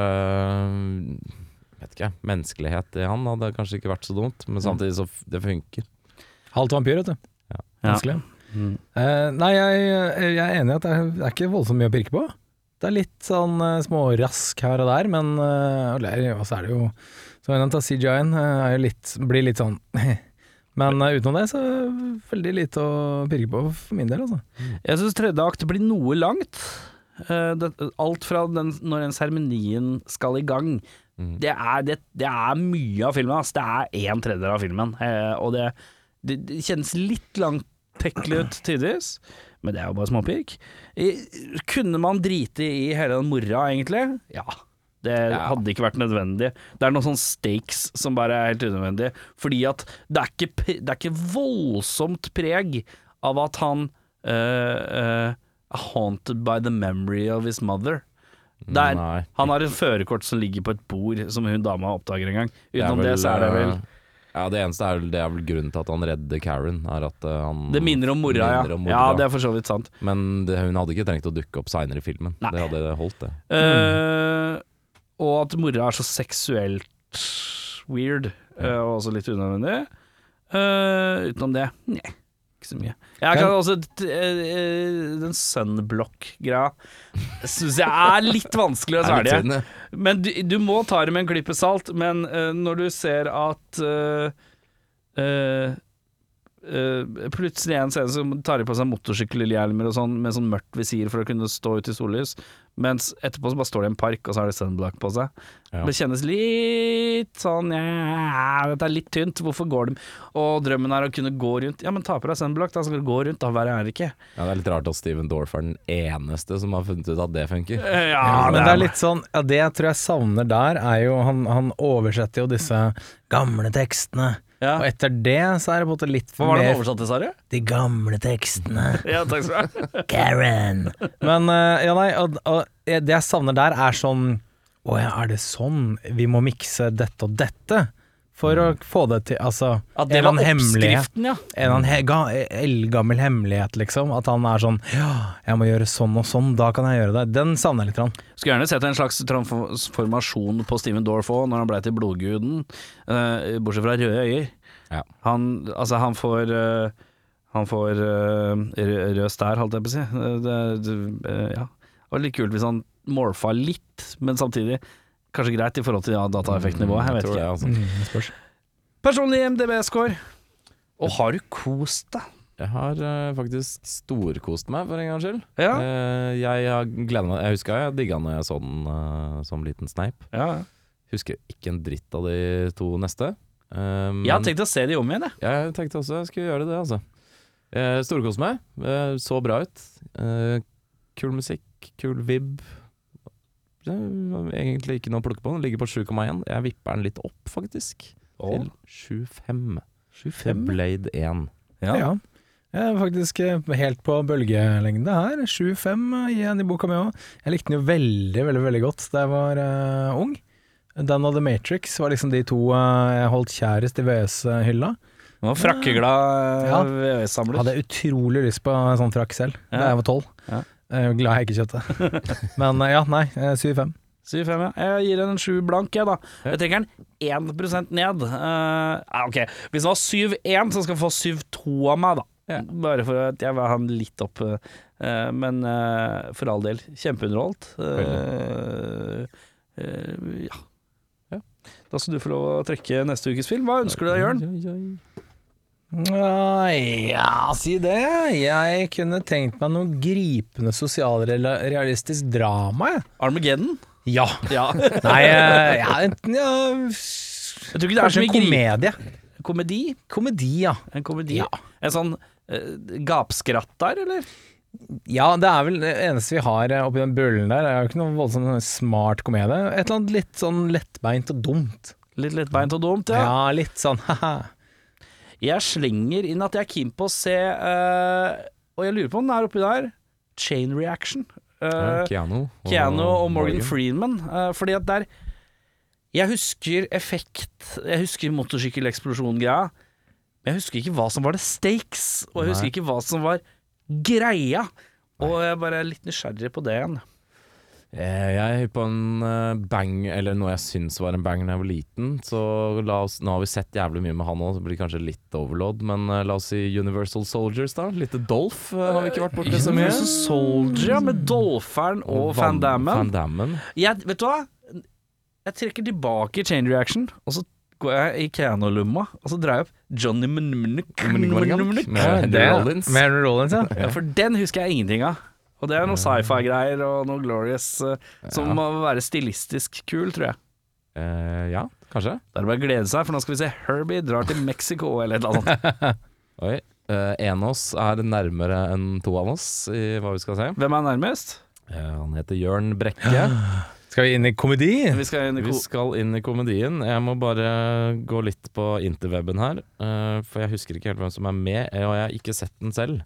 Vet ikke, menneskelighet i han hadde kanskje ikke vært så dumt,
Mm.
men samtidig så f- det funker.
Halvt vampyr, vet du.
Ja.
Vanskelig.
Mm.
Eh, nei, jeg, jeg er enig i at det er, det er ikke voldsomt mye å pirke på. Det er litt sånn eh, smårask her og der, men eh, og det er- og så er det jo Som jeg nevnte, CGI-en eh, er jo litt, blir litt sånn [laughs] Men eh, utenom det, så veldig lite å pirke på for min del, altså.
Jeg syns tredje akt blir noe langt. Eh, det, alt fra den, når den seremonien skal i gang. Det, er, det, det er mye av filmen. Ass. Det er en tredjedel av filmen. Eh, og det, det, det kjennes litt langtekkelig ut tidvis, men det er jo bare småpirk. Eh, kunne man drite i hele den mora, egentlig? Ja. Det
Ja.
hadde ikke vært nødvendig. Det er noen sånne stakes som bare er helt unødvendig. Fordi at det er ikke, pre- det er ikke voldsomt preg av at han eh, eh, er haunted by the memory of his mother. Det er,
Nei.
han har et førerkort som ligger på et bord, som hun dama oppdager en gang.
Det er
Utenom det,
vel, eh,
så er det vel
Ja, det eneste er, vel- det er vel grunnen til at han redder Karen. Er at eh, han
Det minner om mora, ja.
minner om mora.
Ja, det er for så vidt sant.
Men det, hun hadde ikke trengt å dukke opp seinere i filmen.
Nei.
Det hadde holdt, det.
Eh, og at mora er så seksuelt weird, eh, og også litt unødvendig. Eh, utenom det, nei, ikke så mye. Jeg kan også t- eh, eh, Den sunblock-greia syns jeg er litt vanskelig å
Det [laughs] er litt
svelge.
synd, det.
Men du, du må ta det med en klype salt, men eh, når du ser at eh, eh, eh, Plutselig en scene som tar de på seg motorsykkelhjelmer og sånn, med sånn mørkt visir for å kunne stå ute i sollys, mens etterpå så bare står de i en park, og så har de sunblock på seg.
Ja.
Det kjennes litt sånn ja, Dette er litt tynt, hvorfor går de Og drømmen er å kunne gå rundt. Ja, men ta på deg sunblock, da skal du gå rundt, da verre er det ikke.
Ja, det er litt rart at Steven Dorff er den eneste som har funnet ut at det funker.
Eh, ja,
men det er litt sånn ja, Det jeg tror jeg savner der, er jo Han, han oversetter jo disse gamle tekstene.
Ja.
Og etter det så er det på en måte litt
Hva var det han
mer
oversatte, sa du?
De gamle tekstene.
Ja, takk skal du ha.
Karen. Men eh, ja, nei, og, og jeg- det jeg savner der er sånn Å ja, er det sånn? Vi må mikse dette og dette for å få det til Altså,
At
en
det
eller
var
annen hemmelighet.
oppskriften, ja.
En eller annen he ga eh, eldgammel hemmelighet, liksom. At han er sånn Ja, jeg må gjøre sånn og sånn, da kan jeg gjøre det. Den savner jeg litt. Rann.
Skulle gjerne sett en slags transformasjon på Steven Dorff òg, når han blei til blodguden. eh, bortsett fra røde øyer.
Ja.
Han, altså, han får eh, Han får eh, rød, rød stær, holdt jeg på å si. Eh, Det, det, eh, ja. Det var litt kult hvis han morfa litt, men samtidig kanskje greit i forhold til ja, dataeffektnivået. Jeg vet
tror
ikke. Mm.
det, altså.
Personlig MDB-score. Og har du kost deg?
Jeg har eh, faktisk storkost meg, for en gangs skyld.
Ja.
Eh, jeg har gledet meg Jeg huska jeg digga når jeg så den eh, som liten sneip.
Ja.
Husker ikke en dritt av de to neste. Eh,
Jeg har
men-
tenkt å se det om igjen, jeg.
Jeg tenkte også jeg skulle gjøre det, altså. Eh, Storkos meg. Eh, så bra ut. Eh, kul musikk, kul vib. Det var egentlig ikke noe å plukke på. Den ligger på 7,1. Jeg vipper den litt opp, faktisk.
Å.
Til 7,5.
25?
Blade 1.
Ja.
Ja. Jeg er faktisk eh, helt på bølgelengde her. 7-5 igjen i boka mi òg. Jeg likte den jo veldig, veldig veldig godt da jeg var eh, ung. Den og The Matrix var liksom de to eh, jeg holdt kjærest i VS-hylla.
Du var frakkeglad
Ja.
eh, VØS-samler.
Hadde utrolig lyst på en sånn frakk selv da
Ja.
jeg var tolv.
Ja. [laughs]
Glad jeg ikke kjøpte. Men eh, ja, nei. eh, 7-5.
Syv, fem, ja. Jeg gir den en sju blank, jeg, da. Jeg trenger den 1 ned. Eh, ja, ok, Hvis den var 7-1, så skal den få 7-2 av meg, da. Bare for at jeg vil ha den litt opp. eh, men eh, for all del, kjempeunderholdt. Eh, eh, ja. Da skal du få lov å trekke neste ukes film. Hva ønsker du deg, Jørn?
Ja, si det. Jeg kunne tenkt meg noe gripende sosialrealistisk drama, jeg.
Armageddon?
Ja.
Ja.
[laughs] Nei, eh, ja, enten ja,
Jeg tror ikke det er så
Kanskje en
mye gri-
komedie.
komedi.
Komedi, ja.
En komedi?
Ja.
En sånn eh, gapskratt der, eller?
Ja, det er vel det eneste vi har eh, oppi den bøllen der. Det er jo ikke noe voldsomt sånn smart komedie. Et eller annet litt sånn lettbeint og dumt.
Litt lettbeint og dumt,
Ja,
ja.
litt sånn [laughs] haha.
Jeg slenger inn at jeg er keen på å se eh, Og jeg lurer på om den er oppi der. Chain Reaction. Eh,
Keanu
Keanu og Morgan Freeman. eh, fordi at der Jeg husker effekt, jeg husker motorsykkeleksplosjon-greia. Men jeg husker ikke hva som var det stakes, og jeg husker
Nei.
ikke hva som var greia. Og jeg bare er litt nysgjerrig på det igjen.
Eh, Jeg er hypp på en eh, bang, eller noe jeg syns var en bang da jeg var liten. Så la oss, Nå har vi sett jævlig mye med han òg, så det blir kanskje litt overload. Men eh, la oss si Universal Soldiers, da. Litt Dolph eh, har vi ikke vært borti så mye.
Universal Soldier ja, med Dolferen og Van Dammen.
Van Dammen.
Jeg, vet du hva? Jeg trekker tilbake Chain Reaction, og så går jeg i Keanu-lomma, og så drar jeg opp Johnny Mnemnik.
Med Henry Rollins.
Med Henry Rollins, ja. Mm.
Ja, for den husker jeg ingenting av. Og det er noen sci-fi-greier og noe glorious eh, som må være stilistisk kul, tror jeg.
Eh, ja, kanskje.
Da er det bare å glede seg, for nå skal vi se Herbie drar til Mexico eller et eller annet. sånt.
Oi. Eh, en av oss er nærmere enn to av oss i hva vi skal se.
Hvem er nærmest?
Eh, han heter Jørn Brekke.
[gasps]
Skal vi inn i komedi?
Vi skal inn i
Vi
ko...
skal inn i komedien. Jeg må bare gå litt på interweben her. eh, for jeg husker ikke helt hvem som er med, eh, og jeg har ikke sett den selv.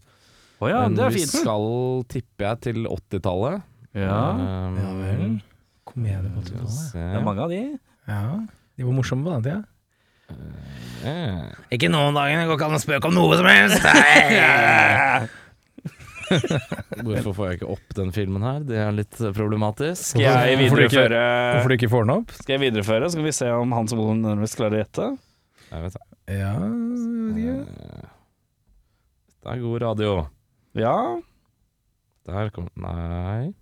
Å ja,
Men
det er
vi
fint.
skal, tipper jeg, til 80-tallet.
Ja,
Eh,
Komedie på
skal vi
80-tallet.
se.
det er mange av de.
Ja. De var morsomme på den tida.
Eh,
Ikke noen dager, det går ikke an å spøke om noe som helst!
Hvorfor får jeg ikke opp den filmen her? Det er litt eh, problematisk.
Skal jeg
Hvorfor du ikke-
videreføre,
Hvorfor du ikke får den opp?
skal jeg videreføre? Så skal vi se om han som bor nærmest klarer å gjette.
Jeg vet det.
Ja, ja.
Det er god radio.
Ja.
Der kom Nei.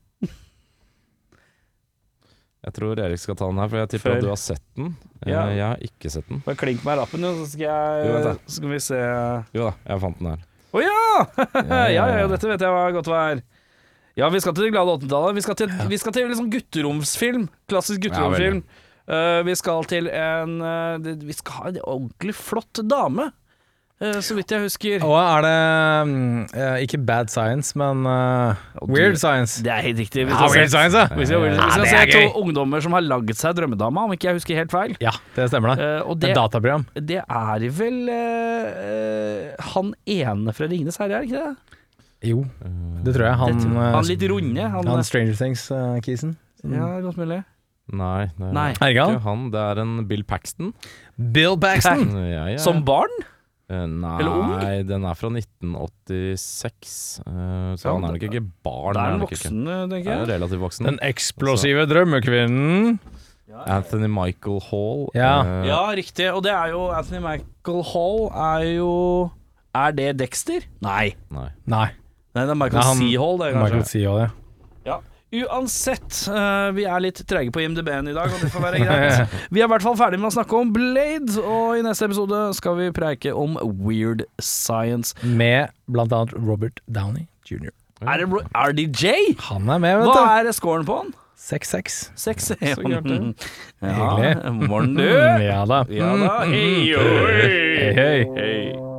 Jeg tror Erik skal ta den her, for jeg tipper
Før.
at du har sett den. Eh,
Ja.
Jeg har ikke sett den.
Bare klink meg i rappen, jo, så skal jeg
Jo, vent
Så skal vi se
Jo da, jeg fant den
[laughs]
her.
Å ja! ja, ja, ja, dette vet jeg hva godt var. Ja, vi skal til det glade 80-tallet. Vi skal til, vi skal til liksom gutteromsfilm. Klassisk gutteromsfilm. Eh, vi skal til en eh, det- Vi skal ha en ordentlig flott dame, eh, så vidt jeg husker.
Og er det mm, eh, ikke bad science, men eh, weird science?
Det er helt riktig. Vi
Ja,
skal
weird
se,
science, ja!
vi skal, vi
Ja,
skal
det
se
er
to ungdommer som har lagd seg drømmedama, om ikke jeg husker helt feil.
Ja, det stemmer det.
Eh, og det,
Det er dataprogram.
det er vel eh, eh, han ene fra 'Ringenes herre', er det ikke det?
Jo, det tror jeg. Han,
Mm. det tror jeg.
eh,
han litt sånn, runde. Han, eh,
han Stranger eh, Things-kisen.
ja, godt mulig.
Nei, det er
Nei.
Herregud.
ikke han. Det er en Bill Paxton.
Bill Paxton!
Ja, ja, ja.
Som barn?
Eh, Nei,
Eller ung?
den er fra 1986, eh, så
Ja,
han er
det-
nok ikke barn.
Det er en
nok ikke.
voksen, eh, tenker
Er
jeg.
relativt voksen.
[laughs] Den eksplosive
Altså.
drømmekvinnen.
Anthony Michael Hall.
Ja.
eh,
Ja, riktig. Og det er jo Anthony Michael Hall er jo Er det Dexter? Nei.
Nei.
Nei,
Nei, det er Michael
Nei, han-
C. Hall, det,
Michael
kanskje.
sier jo det.
Ja. Uansett, eh, vi er litt treige på IMDb-en i dag, og det får være greit. Vi er i hvert fall ferdig med å snakke om Blade, og i neste episode skal vi preike om weird science.
Med blant annet Robert Downey jr.
Er det Ro- RDJ?
Han er med,
Hva
vet du.
er scoren på han?
6-6.
[laughs]
Seks?
gærent, det.
Ja, morn, du.
[laughs]
Mm, Ja da. Mm,
Ja da. Hei, oi.
Hei, hei.
Hei.